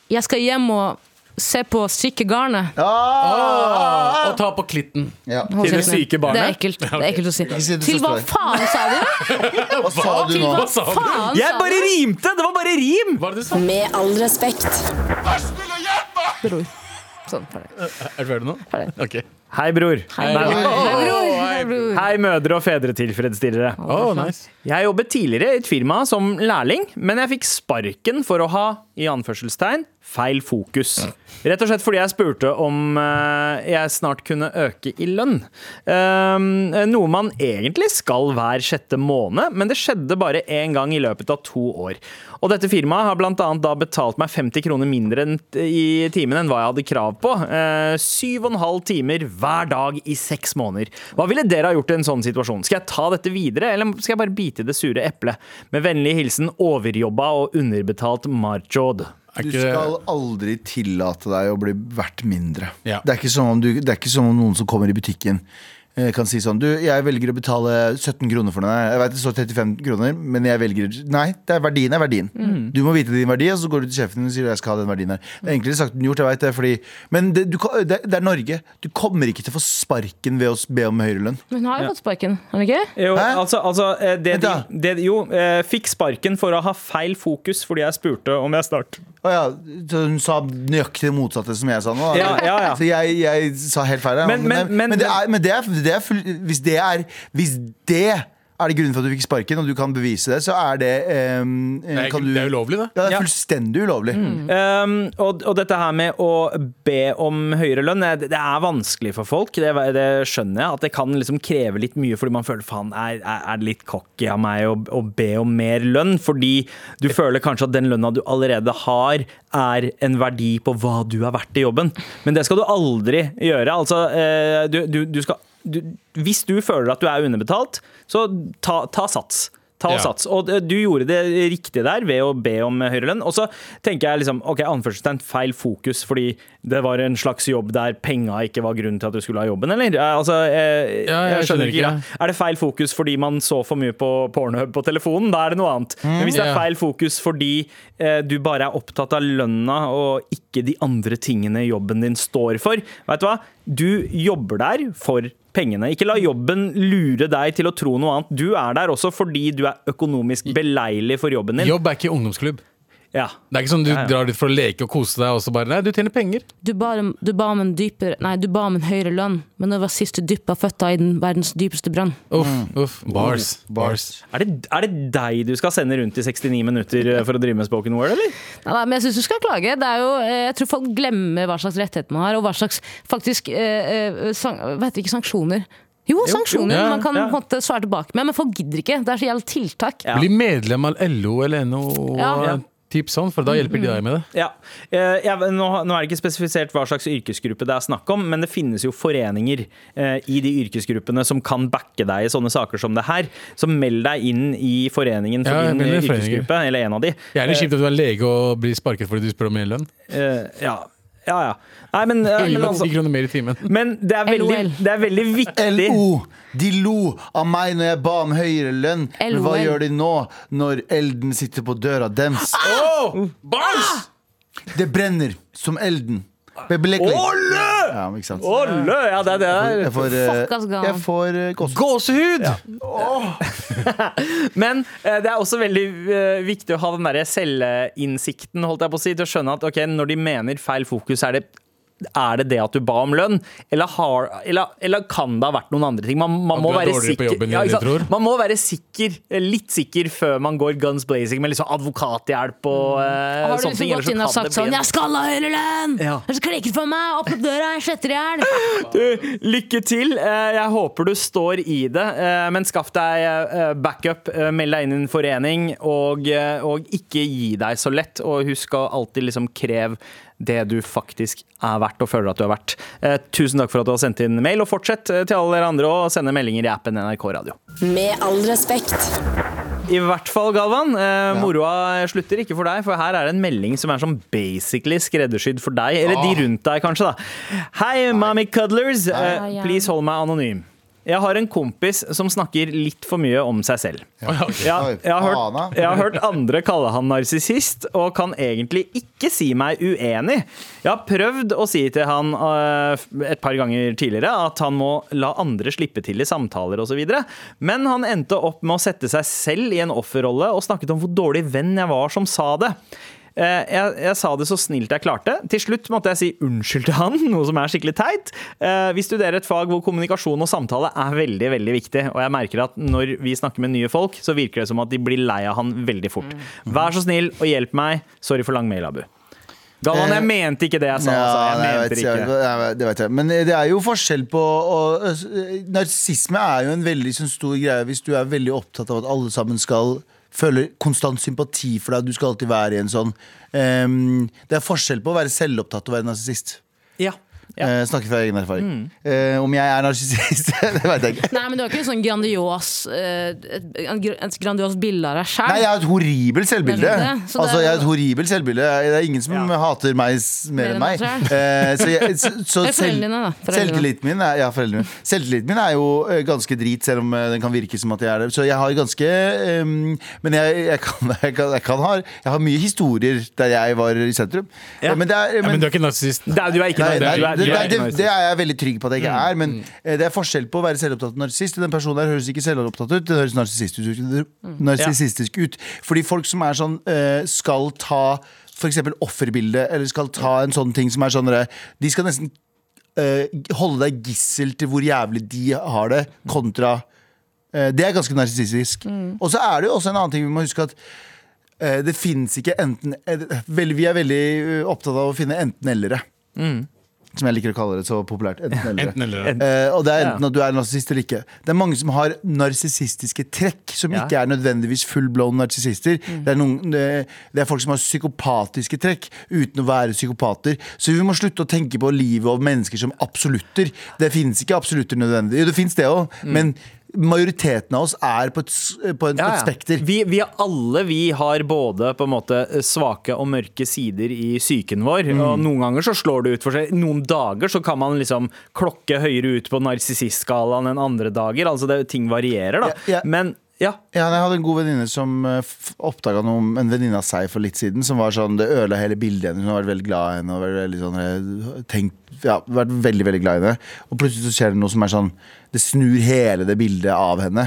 Speaker 4: Jeg skal hjem og se på syke garnet.
Speaker 5: Ah!
Speaker 3: Og ta på klitten.
Speaker 5: Ja.
Speaker 4: Hold
Speaker 2: Til det
Speaker 4: kjeften din.
Speaker 2: syke barnet?
Speaker 4: Det er ekkelt, det er ekkelt å si.
Speaker 5: si det så
Speaker 4: Til hva
Speaker 5: står det.
Speaker 4: faen sa du?
Speaker 5: Hva sa du
Speaker 4: Til
Speaker 5: nå?
Speaker 4: hva
Speaker 3: sa du?
Speaker 4: faen
Speaker 2: Jeg
Speaker 4: sa
Speaker 2: bare
Speaker 4: du?
Speaker 2: rimte! Det var bare rim!
Speaker 3: Hva er det du sa?
Speaker 1: Med all respekt.
Speaker 4: Bror. Sånn, ferdig.
Speaker 3: Er du ferdig nå? Ok.
Speaker 2: Hei, bror.
Speaker 4: Hei,
Speaker 2: Nei.
Speaker 4: bror. Hei, bror. Hei, bror.
Speaker 2: Hei, mødre og fedretilfredsstillere.
Speaker 3: Oh, nice.
Speaker 2: Jeg jobbet tidligere i et firma som lærling, men jeg fikk sparken for å ha i anførselstegn, feil fokus. Rett og slett fordi jeg spurte om eh, jeg snart kunne øke i lønn. Ehm, noe man egentlig skal hver sjette måned, men det skjedde bare én gang i løpet av to år. Og dette firmaet har blant annet da betalt meg 50 kroner mindre enn, i timen enn hva jeg hadde krav på. Eh, Syv og en halv timer hver dag i seks måneder. Hva ville dere ha gjort i en sånn situasjon? Skal jeg ta dette videre, eller skal jeg bare bite i det sure eplet? Med vennlig hilsen overjobba og underbetalt Marjod.
Speaker 3: Er
Speaker 5: Du
Speaker 3: ikke det
Speaker 5: skal aldri tillate deg å bli verdt mindre.
Speaker 3: Ja.
Speaker 5: Det, er ikke som om du, det er ikke som om noen som kommer i butikken eh, kan si sånn Du, jeg velger å betale 17 kroner for den. her. Jeg vet det står 35 kroner, men jeg velger Nei, det er verdien er verdien.
Speaker 3: Mm.
Speaker 5: Du må vite din verdi, og så går du til sjefen din og sier jeg skal ha den verdien her. Det er enklere sagt enn gjort, jeg vet det, fordi Men det, du, kan- det, det er Norge. Du kommer ikke til å få sparken ved å s- be om høyere lønn.
Speaker 4: Men hun har jo fått sparken, har hun ikke?
Speaker 2: Jo,
Speaker 5: Hæ?
Speaker 2: altså, altså eh, det,
Speaker 5: Vent
Speaker 2: de,
Speaker 5: da.
Speaker 2: det, jo eh, fikk sparken for å ha feil fokus fordi jeg spurte om jeg snart
Speaker 5: Å ja, så hun sa nøyaktig det motsatte som jeg sa nå. da.
Speaker 2: Ja, ja, ja.
Speaker 5: Så jeg, jeg sa helt feil. ja.
Speaker 2: Men- men- men-
Speaker 5: det er, men det er, det er full, hvis, det er, hvis det er det grunnen for at du fikk sparken, og du kan bevise det, så er det ehm,
Speaker 3: Det er,
Speaker 5: kan du,
Speaker 3: det er ulovlig, det.
Speaker 5: Ja, det
Speaker 2: Ja.
Speaker 5: er fullstendig ulovlig.
Speaker 2: Um, og, og dette her med å be om høyere lønn, eh, det, det er vanskelig for folk. Det, det skjønner jeg. At det kan liksom kreve litt mye, fordi man føler faen, er, er er det litt cocky av meg å, å be om mer lønn? Fordi du føler kanskje at den lønna du allerede har, er en verdi på hva du er verdt i jobben. Men det skal du aldri gjøre. Altså, eh, du, du, du skal du, Hvis du føler at du er underbetalt, så ta, ta sats. Ta
Speaker 3: Ja.
Speaker 2: sats. Og du gjorde det riktig der ved å be om høyere lønn. Og så tenker jeg liksom, ok, anførselstegn feil fokus, fordi det var en slags jobb der penga ikke var grunnen til at du skulle ha jobben, eller? Eh, Altså, eh,
Speaker 3: Ja, jeg skjønner ikke, ja.
Speaker 2: greia. Er det feil fokus fordi man så for mye på Pornhub på telefonen? Da er det noe annet. Men hvis det
Speaker 3: ja.
Speaker 2: er feil fokus fordi eh, du bare er opptatt av lønna og ikke de andre tingene jobben din står for, vet du hva? Du jobber der for pengene. Ikke la jobben lure deg til å tro noe annet. Du er der også fordi du er økonomisk beleilig for jobben din.
Speaker 3: Jobb er ikke ungdomsklubb.
Speaker 2: Ja.
Speaker 3: Det er ikke sånn du drar dit for å leke og kose deg, og så bare Nei, du tjener penger.
Speaker 4: Du ba, om- du ba om en dypere Nei, du ba om en høyere lønn, men det var sist du dyppa føtta i den verdens dypeste brønn.
Speaker 3: Uff,
Speaker 5: Mm.
Speaker 3: uff.
Speaker 5: Oh,
Speaker 3: Bars. Bars.
Speaker 2: Er, det, er det deg du skal sende rundt i 69 minutter eh, for å drive med spoken word, eller?
Speaker 4: Nei, nei, men jeg syns du skal klage. Det er jo, eh, jeg tror folk glemmer hva slags rettighet man har, og hva slags faktisk eh, eh, san, Hva heter det ikke sanksjoner? Jo, sanksjoner
Speaker 3: ja,
Speaker 4: man kan
Speaker 2: ja.
Speaker 4: på en måte svare tilbake med, men folk gidder ikke. Det er så jævla tiltak.
Speaker 2: Ja.
Speaker 3: Bli medlem av LO eller NO.
Speaker 4: Ja.
Speaker 3: Ja. Tips sånn, for da hjelper
Speaker 2: Mm.
Speaker 3: de deg med det.
Speaker 2: Ja. Eh, ja, men nå, nå er det ikke spesifisert hva slags yrkesgruppe det er snakk om, men det finnes jo foreninger eh, i de yrkesgruppene som kan backe deg i sånne saker som det her. Så meld deg inn i foreningen for
Speaker 3: Ja,
Speaker 2: din
Speaker 3: meld deg i foreninger.
Speaker 2: yrkesgruppe, eller en av de.
Speaker 3: Gjerne kjipt at du er lege og blir sparket fordi du spør om mer lønn.
Speaker 2: Eh, ja. ja, ja. Nei, men, eh,
Speaker 3: Du
Speaker 2: men,
Speaker 3: gir meg ti
Speaker 2: altså,
Speaker 3: kroner mer i timen.
Speaker 2: men det, er veldig,
Speaker 4: LOL.
Speaker 2: det er veldig viktig
Speaker 5: LO! De lo av meg når jeg ba om høyere lønn. Men hva
Speaker 4: LOL.
Speaker 5: gjør de nå, når elden sitter på døra dems?
Speaker 2: Ah! Uh.
Speaker 5: Det brenner som elden. Bebelekkelig.
Speaker 2: Olle!
Speaker 5: Ja, ikke sant?
Speaker 2: Olle! Ja, det er det der.
Speaker 5: Jeg får, eh,
Speaker 4: Fuck, ass, gal.
Speaker 5: jeg får eh, gåsehud.
Speaker 2: Gåsehud! Men eh, det er også veldig eh, viktig å ha den der selvinnsikten holdt jeg på å si, til å skjønne at ok, når de mener feil fokus, er det er det det at du ba om lønn, eller, har, eller, eller kan det ha vært noen andre ting? Man, man,
Speaker 3: At
Speaker 2: må,
Speaker 3: du er
Speaker 2: være
Speaker 3: dårligere på
Speaker 2: sikker,
Speaker 3: jobben enn
Speaker 2: ikke
Speaker 3: de
Speaker 2: sant?
Speaker 3: tror.
Speaker 2: man må være sikker, eh, litt sikker før man går guns blazing med liksom advokathjelp og eh,
Speaker 4: Har du
Speaker 2: sånne
Speaker 4: liksom
Speaker 2: ting.
Speaker 4: gått inn og
Speaker 2: ellers så
Speaker 4: sagt
Speaker 2: kan
Speaker 4: sånn
Speaker 2: det bli en-
Speaker 4: 'Jeg skal ha høyere lønn!'
Speaker 2: Ja.
Speaker 4: Ellers klikker det for meg, opp med døra, jeg sletter i hjel.
Speaker 2: Lykke til. Eh, Jeg håper du står i det. eh, Men skaff deg eh, backup, eh, meld deg inn i en forening, og, eh, og ikke gi deg så lett. Og husk å alltid liksom kreve det du faktisk er verdt, og føler at du er verdt. Eh, Tusen takk for at du har sendt inn mail, og fortsett eh, til alle dere andre å sende meldinger i appen NRK Radio.
Speaker 1: Med all respekt.
Speaker 2: I hvert fall, Galvan. Eh, moroa slutter ikke for deg, for her er det en melding som er sånn basically skreddersydd for deg, eller de rundt deg, kanskje. da. Hei, mommy cuddlers.
Speaker 4: Hei,
Speaker 2: Eh,
Speaker 4: ja.
Speaker 2: please hold meg anonym. Jeg har en kompis som snakker litt for mye om seg selv. Ja, jeg, har hørt, jeg har hørt andre kalle han narsissist, og kan egentlig ikke si meg uenig. Jeg har prøvd å si til han eh, et par ganger tidligere at han må la andre slippe til i samtaler osv., men han endte opp med å sette seg selv i en offerrolle og snakket om hvor dårlig venn jeg var som sa det. Eh, Jeg, jeg sa det så snilt jeg klarte. Til slutt måtte jeg si unnskyld til han, noe som er skikkelig teit. Eh, Vi studerer et fag hvor kommunikasjon og samtale er veldig veldig viktig, og jeg merker at når vi snakker med nye folk, så virker det som at de blir lei av han veldig fort.
Speaker 5: Mm.
Speaker 2: Vær så snill og hjelp meg. Sorry for lang mail, Abu. Galvan, jeg mente ikke det jeg sa. Altså.
Speaker 5: Eh, Ja,
Speaker 2: Jeg
Speaker 5: nei,
Speaker 2: mente
Speaker 5: vet
Speaker 2: det
Speaker 5: ikke.
Speaker 2: ikke.
Speaker 5: Nei, det vet jeg. Men eh, det er jo forskjell på og, øh, Narsisme er jo en veldig sånn, stor greie hvis du er veldig opptatt av at alle sammen skal føle konstant sympati for deg. Du skal alltid være i en sånn ehm, Det er forskjell på å være selvopptatt og å være narsissist.
Speaker 2: Ja. Ja.
Speaker 5: Eh, snakker fra egen erfaring. Eh, om jeg er narsissist, det vet jeg ikke.
Speaker 4: Nei, men du har ikke en sånn grandios eh, et, en gr- et grandios bilde av deg
Speaker 5: Nei, jeg
Speaker 4: sjøl.
Speaker 5: har et horribelt selvbilde.
Speaker 4: Det er det, så det
Speaker 5: altså,
Speaker 4: er-
Speaker 5: jeg har et horribelt selvbilde Det er ingen som
Speaker 2: Ja.
Speaker 5: hater meg s- mer enn
Speaker 4: Mer enn
Speaker 5: meg.
Speaker 4: deg selv.
Speaker 5: Eh, så jeg, så, så
Speaker 4: Det er
Speaker 5: selv-
Speaker 4: foreldrene, da. Foreldrene.
Speaker 5: Selvtilliten min, er, ja, foreldrene mine. Selvtilliten min er jo eh, ganske drit, selv om eh, den kan virke som at jeg er det. Så jeg har ganske eh, Men jeg, jeg, kan, jeg, kan, jeg, kan ha, jeg har mye historier der jeg var i sentrum.
Speaker 2: Ja.
Speaker 5: Eh, Men det er,
Speaker 3: Ja, men
Speaker 5: men,
Speaker 3: du er ikke narsissist.
Speaker 2: Det er, du er ikke
Speaker 5: Nei,
Speaker 2: noe-
Speaker 5: nei,
Speaker 2: du er- du
Speaker 5: det,
Speaker 2: er
Speaker 5: nei,
Speaker 2: ikke
Speaker 5: det,
Speaker 2: noe- Mm.
Speaker 5: det er jeg veldig trygg på at jeg ikke er, men eh, det er forskjell på å være selvopptatt og narsissist. Den personen her høres ikke selvopptatt ut, det høres narsissistisk ut. narsissistisk ut. Fordi folk som er sånn, eh, skal ta for eksempel offerbildet, eller skal ta en sånn ting som er sånn eh, De skal nesten eh, holde deg gissel til hvor jævlig de har det, kontra eh, Det er ganske narsissistisk. Og så er det jo også en annen ting vi må huske at eh, det fins ikke enten eh, vel, Vi er veldig eh, opptatt av å finne enten-ellere.
Speaker 2: Mm.
Speaker 5: Som jeg liker å kalle det så populært. Enten-ellere.
Speaker 3: Enten eller.
Speaker 5: Eh, og det er enten at du er narsissist eller ikke. Det er mange som har narsissistiske trekk, som
Speaker 2: Ja. Mm.
Speaker 5: ikke er nødvendigvis full-blown narsissister. Det, er noen- det, det er folk som har psykopatiske trekk uten å være psykopater. Så vi må slutte å tenke på livet og mennesker som absolutter. Det finnes ikke absolutter nødvendig. Jo, det finnes det òg,
Speaker 2: Mm.
Speaker 5: men majoriteten av oss er på et, s- på en, på
Speaker 2: Ja,
Speaker 5: et
Speaker 2: ja.
Speaker 5: spekter.
Speaker 2: Vi, vi er alle vi har både på en måte svake og mørke sider i psyken vår.
Speaker 5: Mm.
Speaker 2: Og noen ganger så slår det ut for seg. Noen dager så kan man liksom klokke høyere ut på narsissistskalaen enn andre dager. Altså det, ting varierer, da.
Speaker 5: Ja, ja.
Speaker 2: Men ja.
Speaker 5: Ja, jeg hadde en god venninne som oppdaga noe om en venninne av seg for litt siden. Som var sånn, Det ødela hele bildet hennes. Hun har vært veldig glad i henne. Og vært veldig sånn, eh, tenkt, ja, vært veldig, veldig glad i henne Og plutselig så skjer det noe som er sånn Det snur hele det bildet av henne.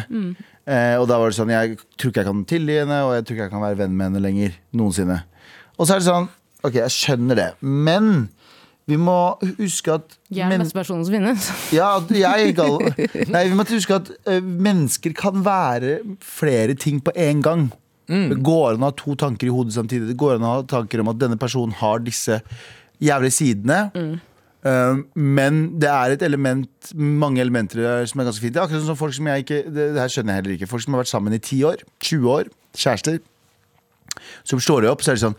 Speaker 5: Eh, og da var det sånn Jeg tror ikke jeg kan tilgi henne, og jeg tror ikke jeg kan være venn med henne lenger. Noensinne. Og så er det sånn Ok, jeg skjønner det, men vi må huske at
Speaker 4: Jeg er
Speaker 5: men-
Speaker 4: den beste personen som finnes.
Speaker 5: ja, at jeg gal... Nei, vi måtte huske at ø, mennesker kan være flere ting på en gang. Det går an å ha to tanker i hodet samtidig. Det går an å ha tanker om at denne personen har disse jævlige sidene. Um, men det er et element mange elementer der som er ganske fint. Det er akkurat som folk som jeg ikke det, det her skjønner jeg heller ikke Folk som har vært sammen i 10 år, 20 år, kjærester. som slår deg opp, så er det sånn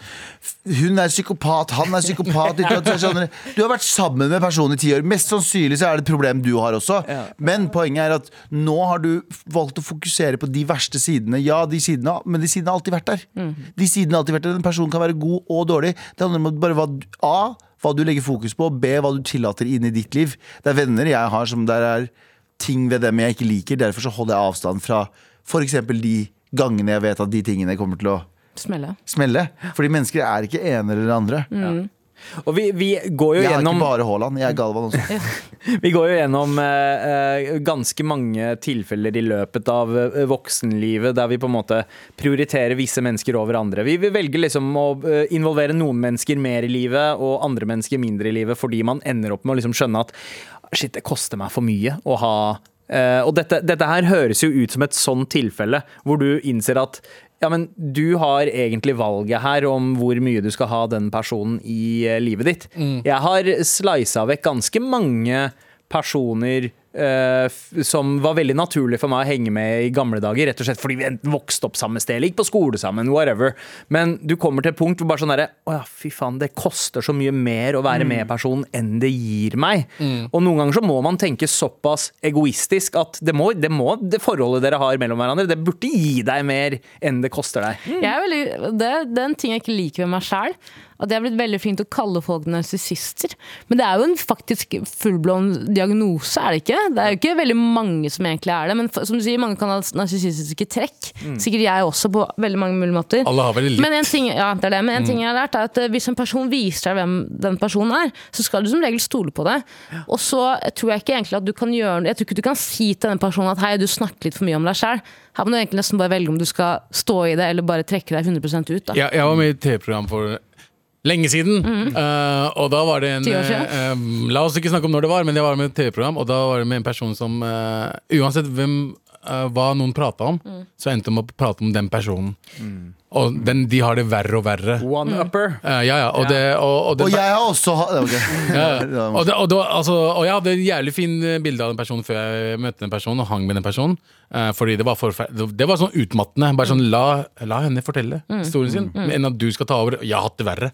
Speaker 5: Hun er psykopat, han er psykopat. ditt og datt, så er det sånn, du har vært sammen med personen i ti år. Mest sannsynlig så er det et problem du har også.
Speaker 2: Ja.
Speaker 5: Men poenget er at nå har du valgt å fokusere på de verste sidene. Ja, de sidene, men de sidene har alltid vært der. De sidene har alltid vært der. En person kan være god og dårlig. Det handler om bare hva du- A. Hva du legger fokus på. B. Hva du tillater inn i ditt liv. Det er venner jeg har som der er ting ved dem jeg ikke liker. Derfor så holder jeg avstand fra f.eks. de gangene jeg vet at de tingene kommer til å
Speaker 4: Smelle.
Speaker 5: smelle. Fordi mennesker er ikke ene eller andre.
Speaker 3: Mm.
Speaker 2: Og vi, vi går jo
Speaker 5: Jeg er
Speaker 2: gjennom
Speaker 5: ikke bare Haaland, jeg er Galvan også.
Speaker 2: Vi går jo gjennom eh, eh, ganske mange tilfeller i løpet av eh, voksenlivet der vi på en måte prioriterer visse mennesker over andre. Vi, vi velger liksom å eh, involvere noen mennesker mer i livet og andre mennesker mindre i livet fordi man ender opp med å liksom skjønne at shit, det koster meg for mye å ha eh, og dette, dette her høres jo ut som et sånn tilfelle hvor du innser at ja, men du har egentlig valget her om hvor mye du skal ha den personen i eh, livet ditt. Jeg har slisa vekk ganske mange personer eh, f som var veldig naturlig for meg å henge med i gamle dager, rett og slett fordi vi enten vokste opp samme sted eller gikk på skole sammen, whatever. Men du kommer til et punkt hvor bare sånn derre Å ja, fy faen, det koster så mye mer å
Speaker 3: Mm.
Speaker 2: være med personen enn det gir meg. Og noen ganger så må man tenke såpass egoistisk at det må, det må det forholdet dere har mellom hverandre, det burde gi deg mer enn det koster
Speaker 3: Mm.
Speaker 5: Mm.
Speaker 2: deg.
Speaker 4: Jeg er veldig, det, det er en ting jeg ikke liker med meg sjæl. At jeg er blitt veldig flink til å kalle folk narsissister. Men det er jo en faktisk fullblån diagnose, er det ikke? Det er jo ikke veldig mange som egentlig er det. Men for, som du sier, mange kan ha narsissistiske trekk.
Speaker 5: Mm.
Speaker 4: Sikkert jeg også, på veldig mange mulige måter.
Speaker 3: Alle har vel litt
Speaker 4: Men en, ting, ja, det er det. Men en ting jeg har lært er at eh, Hvis en person viser deg hvem den personen er, så skal du som regel stole på det. Og så tror jeg ikke egentlig at du kan gjøre Jeg tror ikke du kan si til den personen at hei, du snakker litt for mye om deg sjøl. Her må du egentlig nesten bare velge om du skal stå i det eller bare trekke deg 100 ut. Da.
Speaker 3: Jeg, jeg var med i et TV-program for lenge siden. Eh, og da var det en
Speaker 4: Mm. Ti år siden.
Speaker 3: eh, eh, La oss ikke snakke om når det var, men jeg var med i et TV-program, og da var det med en person som eh, Uansett hvem eh, hva noen prata om,
Speaker 4: Mm.
Speaker 3: så endte de opp å prate om den personen. Og den, de har det verre og verre.
Speaker 2: One upper.
Speaker 3: Eh, ja, ja, og, det, og, og, den,
Speaker 5: Og jeg har også ha- ok.
Speaker 3: ja. Og, det, og, det, var- altså, og jeg hadde et jævlig fin eh, bilde av den personen før jeg møtte den personen og hang med den personen. eh, fordi det var, forfer- det- det var sånn utmattende. Bare sånn, la, la henne fortelle historien sin, enn at du skal ta over. Jeg har hatt det verre.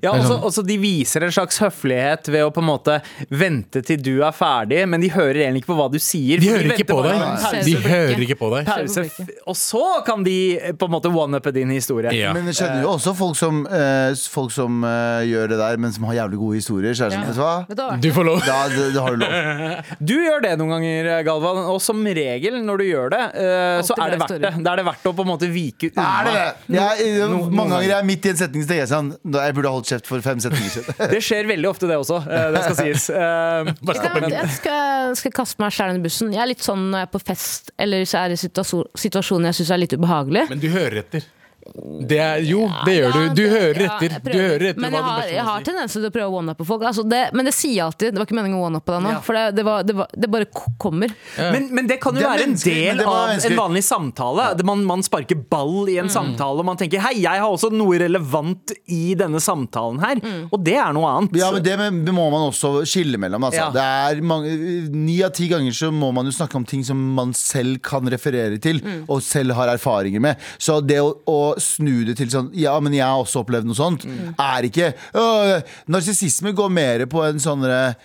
Speaker 2: Ja, også, også De viser en slags høflighet ved å på en måte vente til du er ferdig, men de hører egentlig ikke på hva du sier.
Speaker 3: De
Speaker 2: for
Speaker 3: hører ikke
Speaker 2: venter
Speaker 3: på
Speaker 2: bare
Speaker 3: deg.
Speaker 2: på en
Speaker 4: Nei.
Speaker 3: De
Speaker 4: Pause på
Speaker 3: hører
Speaker 4: blikket.
Speaker 3: ikke på deg.
Speaker 2: Pause, f- og så kan de eh, på en måte one-uppe din historie.
Speaker 3: Ja.
Speaker 5: Men jeg kjenner jo også folk som, eh, folk som eh, gjør det der, men som har jævlig gode historier. Så er det sånn, vet du hva?
Speaker 4: Vet du hva?
Speaker 3: Du får lov.
Speaker 5: Da, da, da har du lov.
Speaker 2: Du gjør det noen ganger, eh, Galvan, og som regel når du gjør det, eh, så
Speaker 4: Alltid
Speaker 2: er det
Speaker 4: bra
Speaker 2: verdt det.
Speaker 4: historie.
Speaker 2: Da er det verdt å på en måte vike unna.
Speaker 5: Er det det? Jeg,
Speaker 2: no- noen
Speaker 5: mange ganger
Speaker 2: ganger.
Speaker 5: jeg er midt i en setning, så tenker jeg sånn da Jeg burde holdt kjeft for fem setninger siden.
Speaker 2: Det skjer veldig ofte, det også. eh, Det skal sies. Eh,
Speaker 4: Ikke sant? Jeg skal, skal kaste meg sjæl under bussen. Jeg er litt sånn når jeg er på fest eller så er det situasjon, situasjoner jeg syns er litt ubehagelig.
Speaker 3: Men du hører etter. Det er, jo, det gjør du. Du hører
Speaker 4: Ja,
Speaker 3: etter.
Speaker 4: jeg
Speaker 3: Du
Speaker 4: prøver.
Speaker 3: hører etter
Speaker 4: men
Speaker 3: hva
Speaker 4: jeg
Speaker 3: den
Speaker 4: har,
Speaker 3: personen
Speaker 4: jeg har
Speaker 3: sier.
Speaker 4: tendens til å prøve å one-uppe folk. Altså det, men det sier jeg alltid. Det var ikke meningen å one-uppe deg nå. For det, det, var, det, var, det bare k- kommer.
Speaker 2: Men, men det kan jo
Speaker 5: Det er
Speaker 2: være en
Speaker 5: menneskelig, men
Speaker 2: del
Speaker 5: det var
Speaker 2: av en
Speaker 5: menneskelig.
Speaker 2: vanlig samtale. Det- Man, man sparker ball i en
Speaker 4: Mm.
Speaker 2: samtale, og man tenker 'hei, jeg har også noe relevant i denne samtalen her',
Speaker 4: Mm.
Speaker 2: og det er noe annet.
Speaker 5: Ja, men Det med- det må man også skille mellom. Altså.
Speaker 2: Ja.
Speaker 5: Det er mange, Ni av ti ganger så må man jo snakke om ting som man selv kan referere til, og selv har erfaringer med. Så det å, å snu det til sånn Ja, men jeg har også opplevd noe sånt, er ikke øh, Narsissisme går mer på en sånn derre,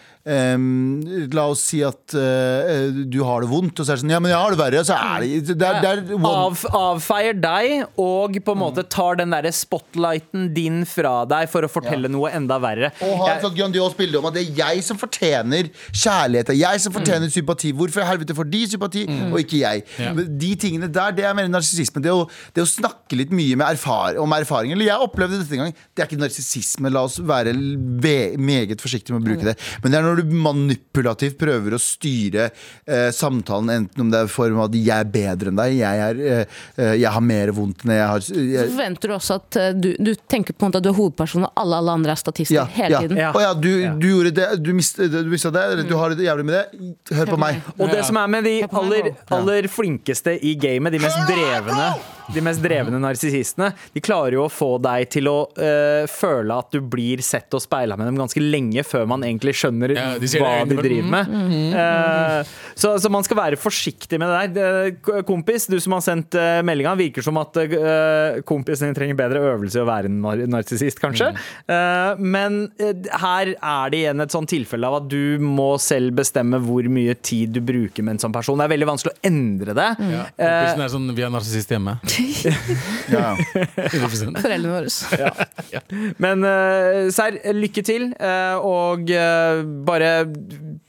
Speaker 5: ehm, La oss si at øh, øh, du har det vondt, og så er det sånn Ja, men jeg har det verre. Så er det, det, er, det er one
Speaker 2: Av, avfeier deg, og på en måte tar den derre spotlighten din fra deg for å fortelle noe enda verre.
Speaker 5: Og ha et sånt grandios bilde om at det er jeg som fortjener kjærlighet. Det er jeg som fortjener sympati. Hvorfor i helvete får de sympati, og ikke jeg? Men De tingene der, det er mer narsissisme. Det, å- det å snakke litt mye med erfar om erfaringer. Eller jeg opplevde dette en gang. Det er ikke narsissisme. La oss være l- ve- meget forsiktige med å bruke det. Men det er når du manipulativt prøver å styre eh, samtalen, enten om det er i form av at jeg er bedre enn deg, jeg, er, eh, eh, jeg har mer vondt enn jeg har
Speaker 4: Så
Speaker 5: jeg,
Speaker 4: forventer du også at eh, du, du tenker på en måte at du er hovedpersonen, og alle, alle andre er statister hele tiden.
Speaker 2: Ja.
Speaker 5: Å ja, du, du gjorde det, du mista det, eller du har det jævlig med det. Hør på meg.
Speaker 2: Og det
Speaker 3: Ja.
Speaker 2: som er med de
Speaker 4: på meg
Speaker 2: aller, aller flinkeste i gamet, de mest drevne de mest drevne narsissistene, de klarer jo å få deg til å øh, føle at du blir sett og speila med dem ganske lenge før man egentlig skjønner
Speaker 3: Ja, de ser
Speaker 2: hva
Speaker 3: det i
Speaker 2: de
Speaker 3: øynene,
Speaker 2: driver med. Eh, Så, så man skal være forsiktig med det der. Det- k- Kompis, du som har sendt eh, meldinga, virker som at eh, kompisen din trenger bedre øvelse i å være en nar- narsissist, kanskje. Eh, men eh, her er det igjen et sånt tilfelle av at du må selv bestemme hvor mye tid du bruker med en sånn person. Det er veldig vanskelig å endre det.
Speaker 3: Ja. Kompisen er sånn, vi er narsissist hjemme.
Speaker 5: Ja.
Speaker 3: 100%.
Speaker 4: Foreldrene våre.
Speaker 2: Men eh, Serr, lykke til. eh, og eh, bare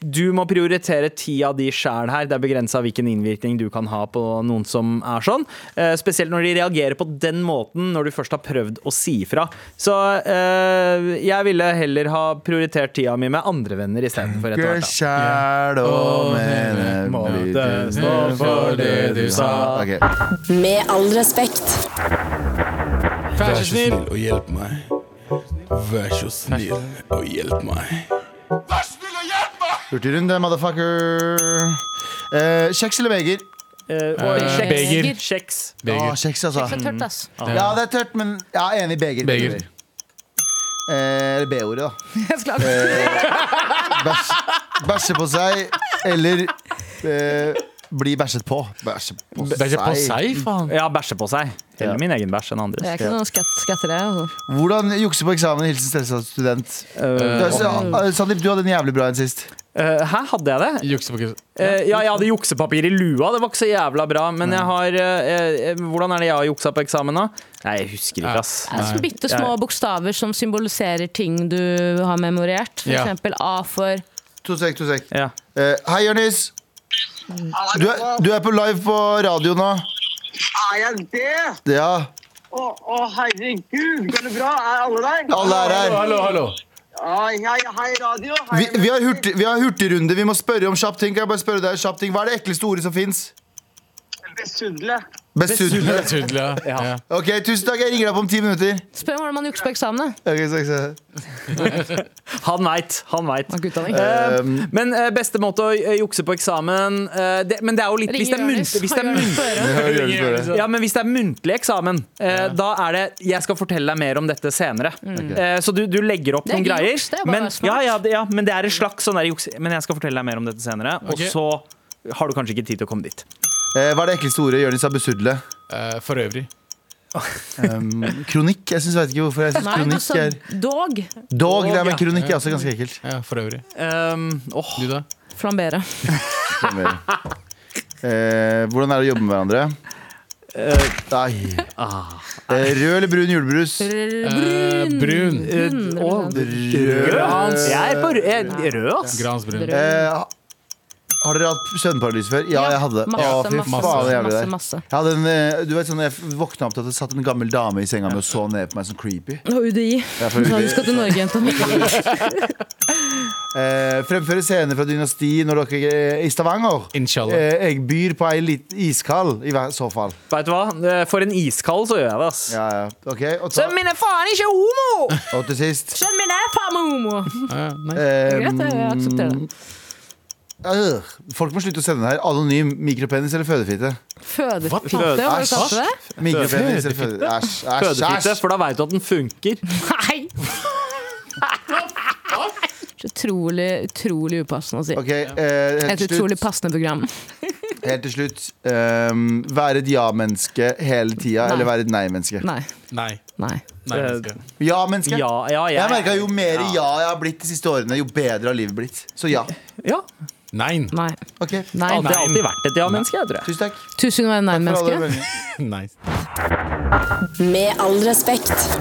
Speaker 2: Du må prioritere tida di sjæl her. Det er begrensa hvilken innvirkning du kan ha på noen som er sånn. Eh, spesielt når de reagerer på den måten, når du først har prøvd å si ifra. Så eh, jeg ville heller ha prioritert tida mi med andre venner istedenfor etter
Speaker 5: Ikke
Speaker 2: hvert. da.
Speaker 5: sjæl og mene
Speaker 2: Måtte stå for det du sa.
Speaker 5: Ok.
Speaker 1: Med all respekt.
Speaker 3: Vær
Speaker 6: Vær
Speaker 3: så
Speaker 6: så
Speaker 3: snill.
Speaker 6: snill og hjelp meg. Vær så snill og hjelp meg.
Speaker 5: Hurtigrunde, motherfucker. Eh, kjeks eller beger?
Speaker 2: Eh, og
Speaker 3: Eh,
Speaker 2: kjeks.
Speaker 3: beger.
Speaker 2: Kjeks.
Speaker 5: Ja,
Speaker 3: Beger.
Speaker 5: kjeks,
Speaker 4: Det
Speaker 5: altså.
Speaker 4: er tørt, ass.
Speaker 5: Ja, det er tørt, men jeg er enig i beger.
Speaker 3: Beger.
Speaker 5: Eh, Eller B-ordet, da. Eh,
Speaker 4: Jeg skal-
Speaker 5: Bæsj, bæsje på seg eller eh, bli bæsjet på. Bæsje på
Speaker 3: Bæsjer på seg, faen.
Speaker 2: Ja, bæsje på seg. Heller
Speaker 5: Ja.
Speaker 2: min egen bæsj enn andres.
Speaker 4: Jeg er ikke noen skatt- skatter, jeg. Altså.
Speaker 5: Hvordan jukse på eksamen? Hilsen stressa student. Du,
Speaker 2: Eh,
Speaker 5: altså, eh, Sandeep, du hadde en jævlig bra en sist.
Speaker 2: eh, hæ, hadde jeg det?
Speaker 3: Jukse på kurs.
Speaker 2: Eh, ja, jeg hadde juksepapir i lua. Det var ikke så jævla bra. Men jeg har eh, eh, Hvordan er det jeg har juksa på eksamen, da? Nei, jeg husker ikke, ass.
Speaker 4: Det er så bitte små bokstaver som symboliserer ting du har memorert. For
Speaker 3: Ja.
Speaker 4: eksempel A for
Speaker 5: To sek, to sek.
Speaker 2: Ja.
Speaker 5: Eh, hei, Jonis. Du, er- du er på live på radio nå.
Speaker 7: Er jeg det?
Speaker 5: Ja,
Speaker 7: Å, å herregud, går det bra? Er alle der?
Speaker 5: alle er her.
Speaker 3: Hallo, hallo.
Speaker 7: Ai, hei, hei, radio. Hei,
Speaker 5: Vi, vi, har hurtig, vi har hurtigrunde. Vi må spørre om kjapp ting. Kan jeg bare spørre deg kjapp ting? Hva er det ekleste ordet som fins?
Speaker 7: Besudle.
Speaker 5: Besudle.
Speaker 3: Tydelig, ja. ja.
Speaker 5: Ok, tusen takk. Jeg ringer deg opp om ti minutter.
Speaker 4: Spør om hvordan man jukser på eksamen. da.
Speaker 5: Ok, så, så.
Speaker 2: Han veit. Han veit.
Speaker 4: Takk, utdanning.
Speaker 5: Eh,
Speaker 2: Men eh, beste måte å eh, jukse på eksamen eh, det, Men det er jo litt Hvis det er
Speaker 4: Jonis.
Speaker 2: muntlig, hvis det er
Speaker 4: Han gjør
Speaker 2: muntlig,
Speaker 4: det på øret.
Speaker 5: Jonis, bare.
Speaker 2: ja, men hvis det er muntlig eksamen, eh, da er det 'jeg skal fortelle deg mer om dette senere'. Eh, så du, du legger opp
Speaker 4: Det er
Speaker 2: noen
Speaker 4: ikke
Speaker 2: greier.
Speaker 4: juks, det er bare
Speaker 2: men, ja,
Speaker 4: smart.
Speaker 2: ja, det- ja, men det er en slags sånn der juks. Men jeg skal fortelle deg mer om dette senere.
Speaker 3: Ok.
Speaker 2: Og så har du kanskje ikke tid til å komme dit.
Speaker 5: Eh, Hva er det ekleste ordet Jonis har besudlet?
Speaker 3: Eh, For øvrig.
Speaker 5: Um, kronikk? Jeg synes, vet ikke hvorfor jeg synes
Speaker 4: Nei,
Speaker 5: kronikk
Speaker 4: altså,
Speaker 5: er
Speaker 4: dog
Speaker 5: Dog, det er med
Speaker 3: ja.
Speaker 5: kronikk er også ganske ekkelt.
Speaker 3: Ja, for øvrig.
Speaker 2: Um, åh.
Speaker 3: Du, da?
Speaker 4: flambere.
Speaker 5: Eh, hvordan er det å jobbe med hverandre? Nei. Eh, rød eller brun julebrus?
Speaker 3: Eh, brun.
Speaker 2: Eh, åh, Rød, ass. Jeg er på rød, jeg- rød ass.
Speaker 3: Gransbrun.
Speaker 4: Brun.
Speaker 5: Eh, ha- har dere hatt søvnparalys før? Ja, jeg hadde.
Speaker 4: Masse,
Speaker 5: Å, fy
Speaker 4: masse,
Speaker 5: faen,
Speaker 4: masse,
Speaker 5: det er jævlig
Speaker 4: masse,
Speaker 5: der.
Speaker 4: masse.
Speaker 5: Jeg hadde en, eh, du vet sånn, jeg våkna opp til at det satt en gammel dame i senga mi og så ned på meg som creepy.
Speaker 4: Og UDI.
Speaker 5: Jeg er fra
Speaker 4: Du sa
Speaker 5: UD.
Speaker 4: du skal til Norge, jenta mi.
Speaker 5: Eh, fremføre scener fra Dynasti når dere er i Stavanger.
Speaker 3: Inshallah.
Speaker 5: Eh, jeg byr på ei litt iskald, i hver- så fall.
Speaker 2: Vet du hva? Eh, For en iskald så gjør jeg det, ass.
Speaker 5: Ja, ja. Ok, og, ta,
Speaker 2: Sønnen min er faen ikke homo!
Speaker 5: og til sist
Speaker 4: Skjønn min er faen meg homo!
Speaker 3: Ja, nei.
Speaker 5: eh,
Speaker 4: Greit, jeg aksepterer det.
Speaker 5: øh, Folk må slutte å sende her. Anonym mikropenis eller fødefitte?
Speaker 4: Føde-
Speaker 3: Hva?
Speaker 4: Føde, var det
Speaker 5: Æsj.
Speaker 4: kanskje det?
Speaker 5: Mikropenis eller føde... Æsj, æsj,
Speaker 2: Fødefitte,
Speaker 5: æsj.
Speaker 2: for da veit du at den funker.
Speaker 4: Nei! Så Utrolig, utrolig upassende å si.
Speaker 5: Ok, eh, helt
Speaker 4: Et
Speaker 5: til
Speaker 4: utrolig
Speaker 5: slutt.
Speaker 4: passende program.
Speaker 5: Helt til slutt ehm, være et ja-menneske hele tida,
Speaker 4: Nei.
Speaker 5: eller være et nei-menneske?
Speaker 4: Nei.
Speaker 3: Nei.
Speaker 4: Nei.
Speaker 3: Nei,
Speaker 2: Eh,
Speaker 3: menneske.
Speaker 5: Ja-menneske?
Speaker 2: Ja, ja, jeg,
Speaker 5: Jeg merka jo mer ja jeg har blitt de siste årene, jo bedre har livet blitt. Så ja.
Speaker 2: Ja,
Speaker 3: Nei.
Speaker 4: Nei.
Speaker 5: Ok,
Speaker 4: Nei.
Speaker 2: Alltid, alltid vært et ja-menneske, jeg tror jeg.
Speaker 5: tusen takk.
Speaker 4: Tusen ganger nei,
Speaker 5: for alle
Speaker 4: menneske.
Speaker 5: meldingene.
Speaker 3: Nei.
Speaker 1: Med all respekt.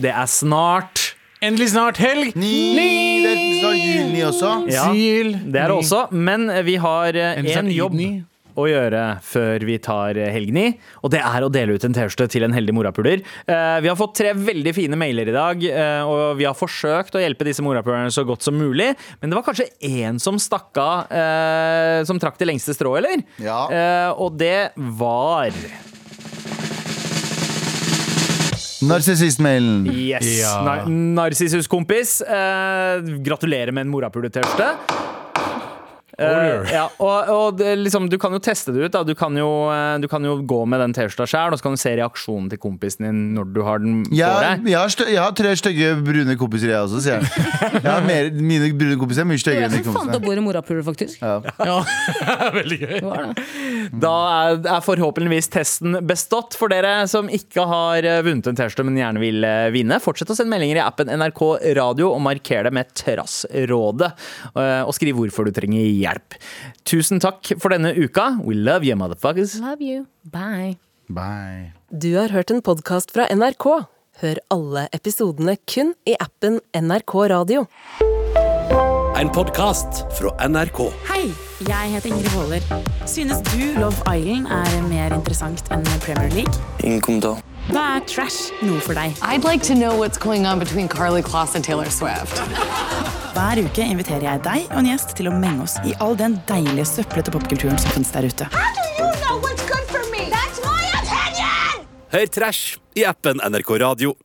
Speaker 2: Det er snart
Speaker 3: Endelig snart helg!
Speaker 5: Ni! Det er snart juni også.
Speaker 2: Ja,
Speaker 3: Sil.
Speaker 2: det er det også. Men vi har eh,
Speaker 3: Endelig
Speaker 2: en
Speaker 3: snart
Speaker 2: jobb
Speaker 3: Idni.
Speaker 2: å gjøre før vi tar eh, helgni, og det er å dele ut en T-skjorte til en heldig morapuler. Eh, Vi har fått tre veldig fine mailer i dag, eh, og vi har forsøkt å hjelpe disse morapulerne så godt som mulig, men det var kanskje én som stakk av, eh, som trakk det lengste strået, eller?
Speaker 5: Ja.
Speaker 2: Eh, Og det var
Speaker 5: Narsissistmailen.
Speaker 2: Yes!
Speaker 3: Ja.
Speaker 2: Nar Narsissus-kompis, eh, gratulerer med en morapule-T-skjorte. Eh, ja, og, og det, liksom, du kan jo teste det ut. Da. Du, kan jo, eh, du kan jo gå med den T-skjorta sjøl, og så kan du se reaksjonen til kompisen din når du har den på
Speaker 5: Jeg,
Speaker 2: deg.
Speaker 5: jeg, har stø, jeg har tre stygge brune kompiser, jeg også, sier jeg. jeg har mer, mine brune kompiser er mye
Speaker 4: Det
Speaker 5: styggere
Speaker 4: var
Speaker 5: enn de
Speaker 4: jeg som fant opp
Speaker 5: kompisene.
Speaker 4: ordet morapuler, faktisk.
Speaker 3: Ja, Veldig gøy.
Speaker 4: Det var det.
Speaker 2: Da er, er forhåpentligvis testen bestått. For dere som ikke har eh, vunnet en T-skjorte, men gjerne vil eh, vinne, fortsett å sende meldinger i appen NRK Radio og marker det med Trassrådet. eh, Og skriv hvorfor du trenger hjelp. Tusen takk for denne uka. We love you, motherfuckers.
Speaker 4: Love you. Bye.
Speaker 5: Bye.
Speaker 8: Du har hørt en podkast fra NRK. Hør alle episodene kun i appen NRK Radio.
Speaker 9: En podkast fra NRK.
Speaker 10: Hei, jeg heter Ingrid Waaler. Synes du Love Island er mer interessant enn Premier League?
Speaker 9: Ingen kommentar.
Speaker 10: Da er trash noe for deg.
Speaker 11: I'd like to know what's going on between Carly Kloss and Taylor Swift.
Speaker 10: Hver uke inviterer jeg deg og en gjest til å menge oss i all den deilige søplete popkulturen som finnes der ute.
Speaker 9: Hør Trash i appen NRK Radio.